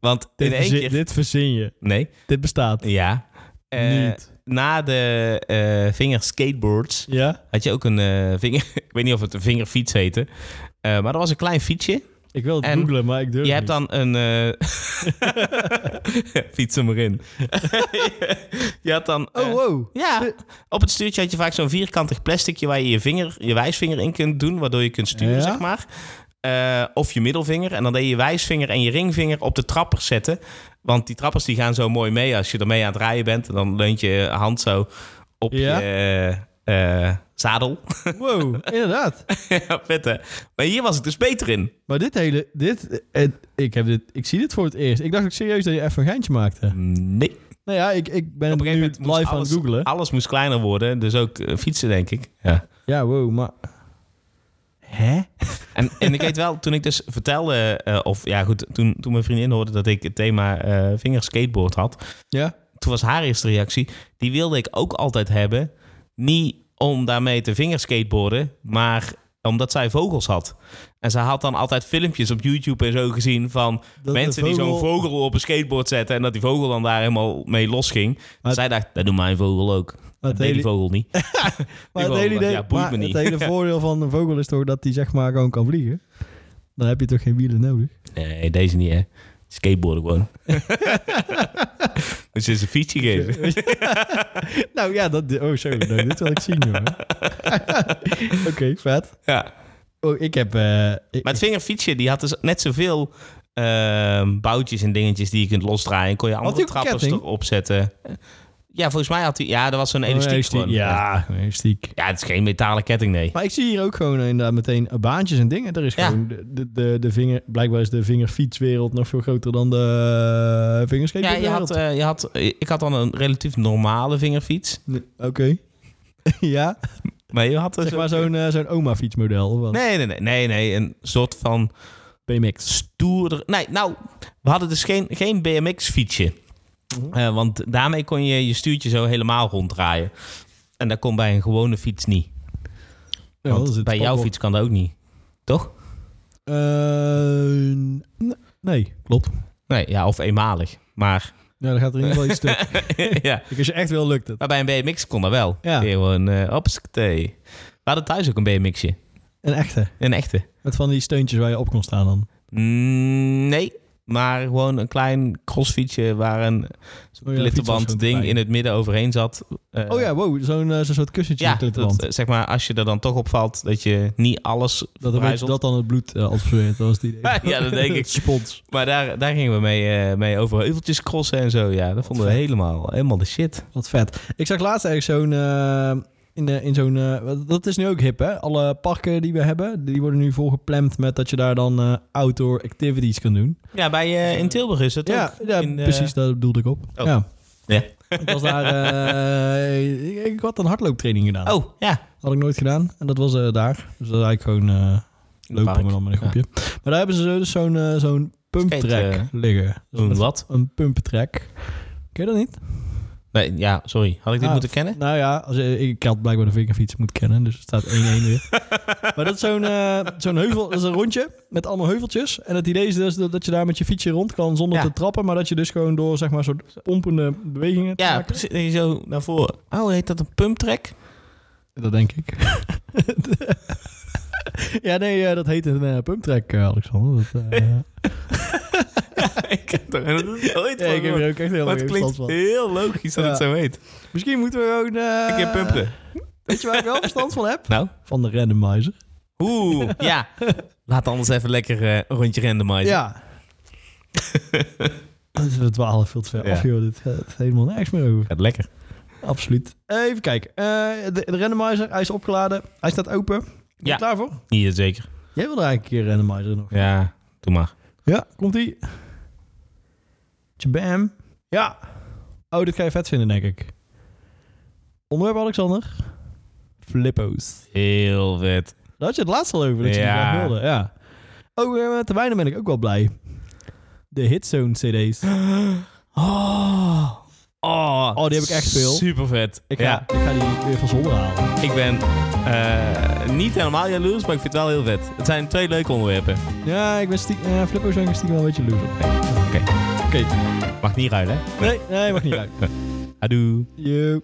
[SPEAKER 1] Want
[SPEAKER 2] Dit,
[SPEAKER 1] in één
[SPEAKER 2] verzin-
[SPEAKER 1] keer...
[SPEAKER 2] dit verzin je.
[SPEAKER 1] Nee,
[SPEAKER 2] Dit bestaat
[SPEAKER 1] ja. Eh,
[SPEAKER 2] niet.
[SPEAKER 1] Na de eh vingerskateboards
[SPEAKER 2] Ja?
[SPEAKER 1] had je ook een eh, vinger... ik weet niet of het een vingerfiets heette. Eh, maar dat was een klein fietsje.
[SPEAKER 2] Ik wil het
[SPEAKER 1] En
[SPEAKER 2] googlen, maar ik durf
[SPEAKER 1] Je hebt
[SPEAKER 2] niet.
[SPEAKER 1] dan een... eh Fiets hem erin. je had dan... eh,
[SPEAKER 2] Oh, wow.
[SPEAKER 1] Ja, op het stuurtje had je vaak zo'n vierkantig plasticje... waar je je, vinger, je wijsvinger in kunt doen, waardoor je kunt sturen,
[SPEAKER 2] Ja?
[SPEAKER 1] zeg maar. Eh, of je middelvinger. En dan deed je je wijsvinger en je ringvinger op de trappers zetten. Want die trappers die gaan zo mooi mee als je ermee aan het rijden bent. En dan leunt je hand zo op
[SPEAKER 2] Ja?
[SPEAKER 1] je eh, eh, zadel.
[SPEAKER 2] Wow, inderdaad.
[SPEAKER 1] ja, vet hè? Maar hier was ik dus beter in.
[SPEAKER 2] Maar dit hele... Dit, eh, ik, heb dit, ik zie dit voor het eerst. Ik dacht ook serieus dat je even een geintje maakte.
[SPEAKER 1] Nee.
[SPEAKER 2] Nou ja, ik, ik ben
[SPEAKER 1] Op
[SPEAKER 2] het
[SPEAKER 1] een
[SPEAKER 2] nu
[SPEAKER 1] gegeven moment moest
[SPEAKER 2] live aan het
[SPEAKER 1] alles-
[SPEAKER 2] googlen.
[SPEAKER 1] Alles moest kleiner worden, dus ook eh, fietsen, denk ik. Ja.
[SPEAKER 2] Ja, wow, maar... Hè?
[SPEAKER 1] En, en ik weet wel, toen ik dus vertelde, eh, of ja goed, toen, toen mijn vriendin hoorde dat ik het thema eh vingerskateboard had,
[SPEAKER 2] Ja?
[SPEAKER 1] toen was haar eerste reactie, die wilde ik ook altijd hebben. Niet om daarmee te vingerskateboarden, maar omdat zij vogels had. En ze had dan altijd filmpjes op YouTube en zo gezien van
[SPEAKER 2] de
[SPEAKER 1] mensen die zo'n
[SPEAKER 2] vogel-
[SPEAKER 1] vogel op een skateboard zetten en dat die vogel dan daar helemaal mee losging.
[SPEAKER 2] Maar-
[SPEAKER 1] zij dacht, dat doet mijn vogel ook. Dat deed
[SPEAKER 2] hele-
[SPEAKER 1] die vogel niet.
[SPEAKER 2] Maar
[SPEAKER 1] Die
[SPEAKER 2] het hele,
[SPEAKER 1] vogel,
[SPEAKER 2] idee,
[SPEAKER 1] ja, boeit
[SPEAKER 2] maar
[SPEAKER 1] me
[SPEAKER 2] het
[SPEAKER 1] niet.
[SPEAKER 2] hele voordeel van een vogel is toch dat hij zeg maar gewoon kan vliegen. Dan heb je toch geen wielen nodig.
[SPEAKER 1] Nee, deze niet, hè. Skateboarden gewoon. dus is een fietsje geven.
[SPEAKER 2] nou ja, dat, oh sorry, nou, dit wil ik zien jongen. Oké, vet.
[SPEAKER 1] Ja.
[SPEAKER 2] Oh, ik heb... eh, ik-
[SPEAKER 1] Maar het vingerfietsje, die had dus net zoveel ehm, boutjes en dingetjes die je kunt losdraaien. Kon je
[SPEAKER 2] hij
[SPEAKER 1] andere
[SPEAKER 2] ook een
[SPEAKER 1] trappers
[SPEAKER 2] ketting?
[SPEAKER 1] erop zetten. Ja, volgens mij had hij... Ja, dat was zo'n
[SPEAKER 2] oh,
[SPEAKER 1] elastiek, gewoon.
[SPEAKER 2] Ja, een elastiek.
[SPEAKER 1] Ja, het is geen metalen ketting, nee.
[SPEAKER 2] Maar ik zie hier ook gewoon inderdaad meteen baantjes en dingen. Er is
[SPEAKER 1] Ja.
[SPEAKER 2] gewoon de, de, de, de vinger... Blijkbaar is de vingerfietswereld nog veel groter dan de uh,
[SPEAKER 1] Ja, je had, eh, je had, ik had dan een relatief normale vingerfiets.
[SPEAKER 2] Oké. ja,
[SPEAKER 1] Maar je had dus
[SPEAKER 2] zeg maar
[SPEAKER 1] ook-
[SPEAKER 2] zo'n eh, zo'n oma-fietsmodel. of wat?
[SPEAKER 1] Nee, nee, nee, nee, nee. Een soort van
[SPEAKER 2] BMX.
[SPEAKER 1] stoerder... Nee, nou, we hadden dus geen, geen BMX-fietsje.
[SPEAKER 2] Mhm.
[SPEAKER 1] Eh, want daarmee kon je je stuurtje zo helemaal ronddraaien. En dat kon bij een gewone fiets niet.
[SPEAKER 2] Ja, dat is
[SPEAKER 1] want
[SPEAKER 2] het
[SPEAKER 1] Oh, bij jouw
[SPEAKER 2] spannend.
[SPEAKER 1] fiets kan dat ook niet. Toch?
[SPEAKER 2] Eh, n- nee, klopt.
[SPEAKER 1] Nee, ja, of eenmalig. Maar,
[SPEAKER 2] Ja, dan gaat er in ieder geval iets stuk.
[SPEAKER 1] ja.
[SPEAKER 2] Ik, als je echt wil, lukt het.
[SPEAKER 1] maar bij een BMX kon dat wel.
[SPEAKER 2] Ja.
[SPEAKER 1] Ja. Gewoon, eh hopsakee. We hadden thuis ook een BMXje.
[SPEAKER 2] Een echte.
[SPEAKER 1] Een echte.
[SPEAKER 2] Met van die steuntjes waar je op kon staan dan.
[SPEAKER 1] Mm, nee, maar gewoon een klein crossfietsje waar een
[SPEAKER 2] Oh ja, fiets was
[SPEAKER 1] glitterband
[SPEAKER 2] ook
[SPEAKER 1] ding
[SPEAKER 2] klein.
[SPEAKER 1] in het midden overheen zat. Eh,
[SPEAKER 2] Oh ja, wow. Zo'n eh, zo'n soort kussentje
[SPEAKER 1] Ja,
[SPEAKER 2] met glitterband.
[SPEAKER 1] dat, eh, zeg maar, als je er dan toch op valt, dat je niet alles
[SPEAKER 2] Dat, een beetje
[SPEAKER 1] verbrijzelt.
[SPEAKER 2] dat dan het bloed eh, absorbeert. Dat was het idee.
[SPEAKER 1] Ja, dat denk ik.
[SPEAKER 2] Het Spons.
[SPEAKER 1] Maar daar, daar gingen we mee, eh, mee over heuveltjes crossen en zo. Ja, dat vonden we
[SPEAKER 2] vet.
[SPEAKER 1] helemaal, helemaal de shit.
[SPEAKER 2] Wat vet. Ik zag laatst ergens zo'n... eh, in, de- in zo'n... eh, wat- dat is nu ook hip, hè? Alle parken die we hebben, die worden nu volgepland met dat je daar dan eh, outdoor activities kan doen.
[SPEAKER 1] Ja, bij, eh, in Tilburg is het
[SPEAKER 2] Ja,
[SPEAKER 1] ook.
[SPEAKER 2] ja
[SPEAKER 1] In, eh,
[SPEAKER 2] precies, daar bedoelde ik op.
[SPEAKER 1] Oh.
[SPEAKER 2] Ja.
[SPEAKER 1] Ja.
[SPEAKER 2] Ik was daar... eh, ik, ik had een hardlooptraining gedaan.
[SPEAKER 1] Oh, ja.
[SPEAKER 2] Had ik nooit gedaan. En dat was eh, daar. Dus dat eigenlijk gewoon eh lopen
[SPEAKER 1] Park.
[SPEAKER 2] we dan met een groepje. Maar daar hebben ze zo- dus zo'n eh, zo'n pumptrack
[SPEAKER 1] Skate, eh,
[SPEAKER 2] liggen. Dus
[SPEAKER 1] Een
[SPEAKER 2] met
[SPEAKER 1] wat?
[SPEAKER 2] Een pumptrack. Ken je dat niet?
[SPEAKER 1] Nee, ja, sorry. Had ik dit
[SPEAKER 2] Ah,
[SPEAKER 1] moeten kennen?
[SPEAKER 2] Nou ja, als, je- ik had blijkbaar de vingerfiets moeten kennen. Dus het staat 1-1 weer. maar dat is zo'n eh, zo'n heuvel. Dat is een rondje met allemaal heuveltjes. En het idee is dus dat, dat je daar met je fietsje rond kan zonder
[SPEAKER 1] Ja.
[SPEAKER 2] te trappen. Maar dat je dus gewoon door zeg maar soort pompende bewegingen te
[SPEAKER 1] Ja,
[SPEAKER 2] maken.
[SPEAKER 1] precies. Nee, Zo naar voren. Oh, heet dat een pumptrack?
[SPEAKER 2] Dat denk ik. ja, nee, eh, dat heet een eh, pumptrack, eh, Alexander. Dat, eh,
[SPEAKER 1] ik heb er nooit
[SPEAKER 2] ja, ik heb er ook echt heel
[SPEAKER 1] Maar het
[SPEAKER 2] erg geen
[SPEAKER 1] klinkt
[SPEAKER 2] verstand van.
[SPEAKER 1] heel logisch dat
[SPEAKER 2] Ja.
[SPEAKER 1] het zo heet.
[SPEAKER 2] Misschien moeten we gewoon... eh,
[SPEAKER 1] Ik heb pumpen.
[SPEAKER 2] Weet je waar ik wel verstand van heb?
[SPEAKER 1] Nou?
[SPEAKER 2] Van de randomizer.
[SPEAKER 1] Oeh, ja. Laat anders even lekker eh, een rondje randomizen.
[SPEAKER 2] Ja. Dus we dwalen veel te ver
[SPEAKER 1] Ja.
[SPEAKER 2] af, joh. eh, Dit gaat helemaal nergens meer over.
[SPEAKER 1] Gaat lekker.
[SPEAKER 2] Absoluut. Even kijken. Eh, de, de randomizer, hij is opgeladen. Hij staat open. Ben je
[SPEAKER 1] Ja.
[SPEAKER 2] klaar voor?
[SPEAKER 1] Hier, zeker.
[SPEAKER 2] Jij wilde eigenlijk een keer randomizer nog.
[SPEAKER 1] Ja, doe maar.
[SPEAKER 2] Ja, komt-ie. Jabam. Ja. Oh, dit ga je vet vinden, denk ik. Onderwerp, Alexander. Flippo's.
[SPEAKER 1] Heel vet.
[SPEAKER 2] Daar had je het laatst al over, dat je die
[SPEAKER 1] Ja.
[SPEAKER 2] graag wilde. Ja. Oh, eh, met de wijnen ben ik ook wel blij. De Hitzone CD's.
[SPEAKER 1] Oh. Oh,
[SPEAKER 2] Oh, die heb ik echt veel.
[SPEAKER 1] Super vet.
[SPEAKER 2] Ik ga,
[SPEAKER 1] ja,
[SPEAKER 2] ik ga die weer van zolder halen.
[SPEAKER 1] ik ben eh, niet helemaal jaloers, maar ik vind het wel heel vet. Het zijn twee leuke onderwerpen.
[SPEAKER 2] Ja, ik ben stiekem... Ja, Flippo's ben ik stiekem wel een beetje loser. Oké.
[SPEAKER 1] Mag niet ruilen, hè?
[SPEAKER 2] Nee, nee, mag niet uit.
[SPEAKER 1] Adoe.
[SPEAKER 2] Yo.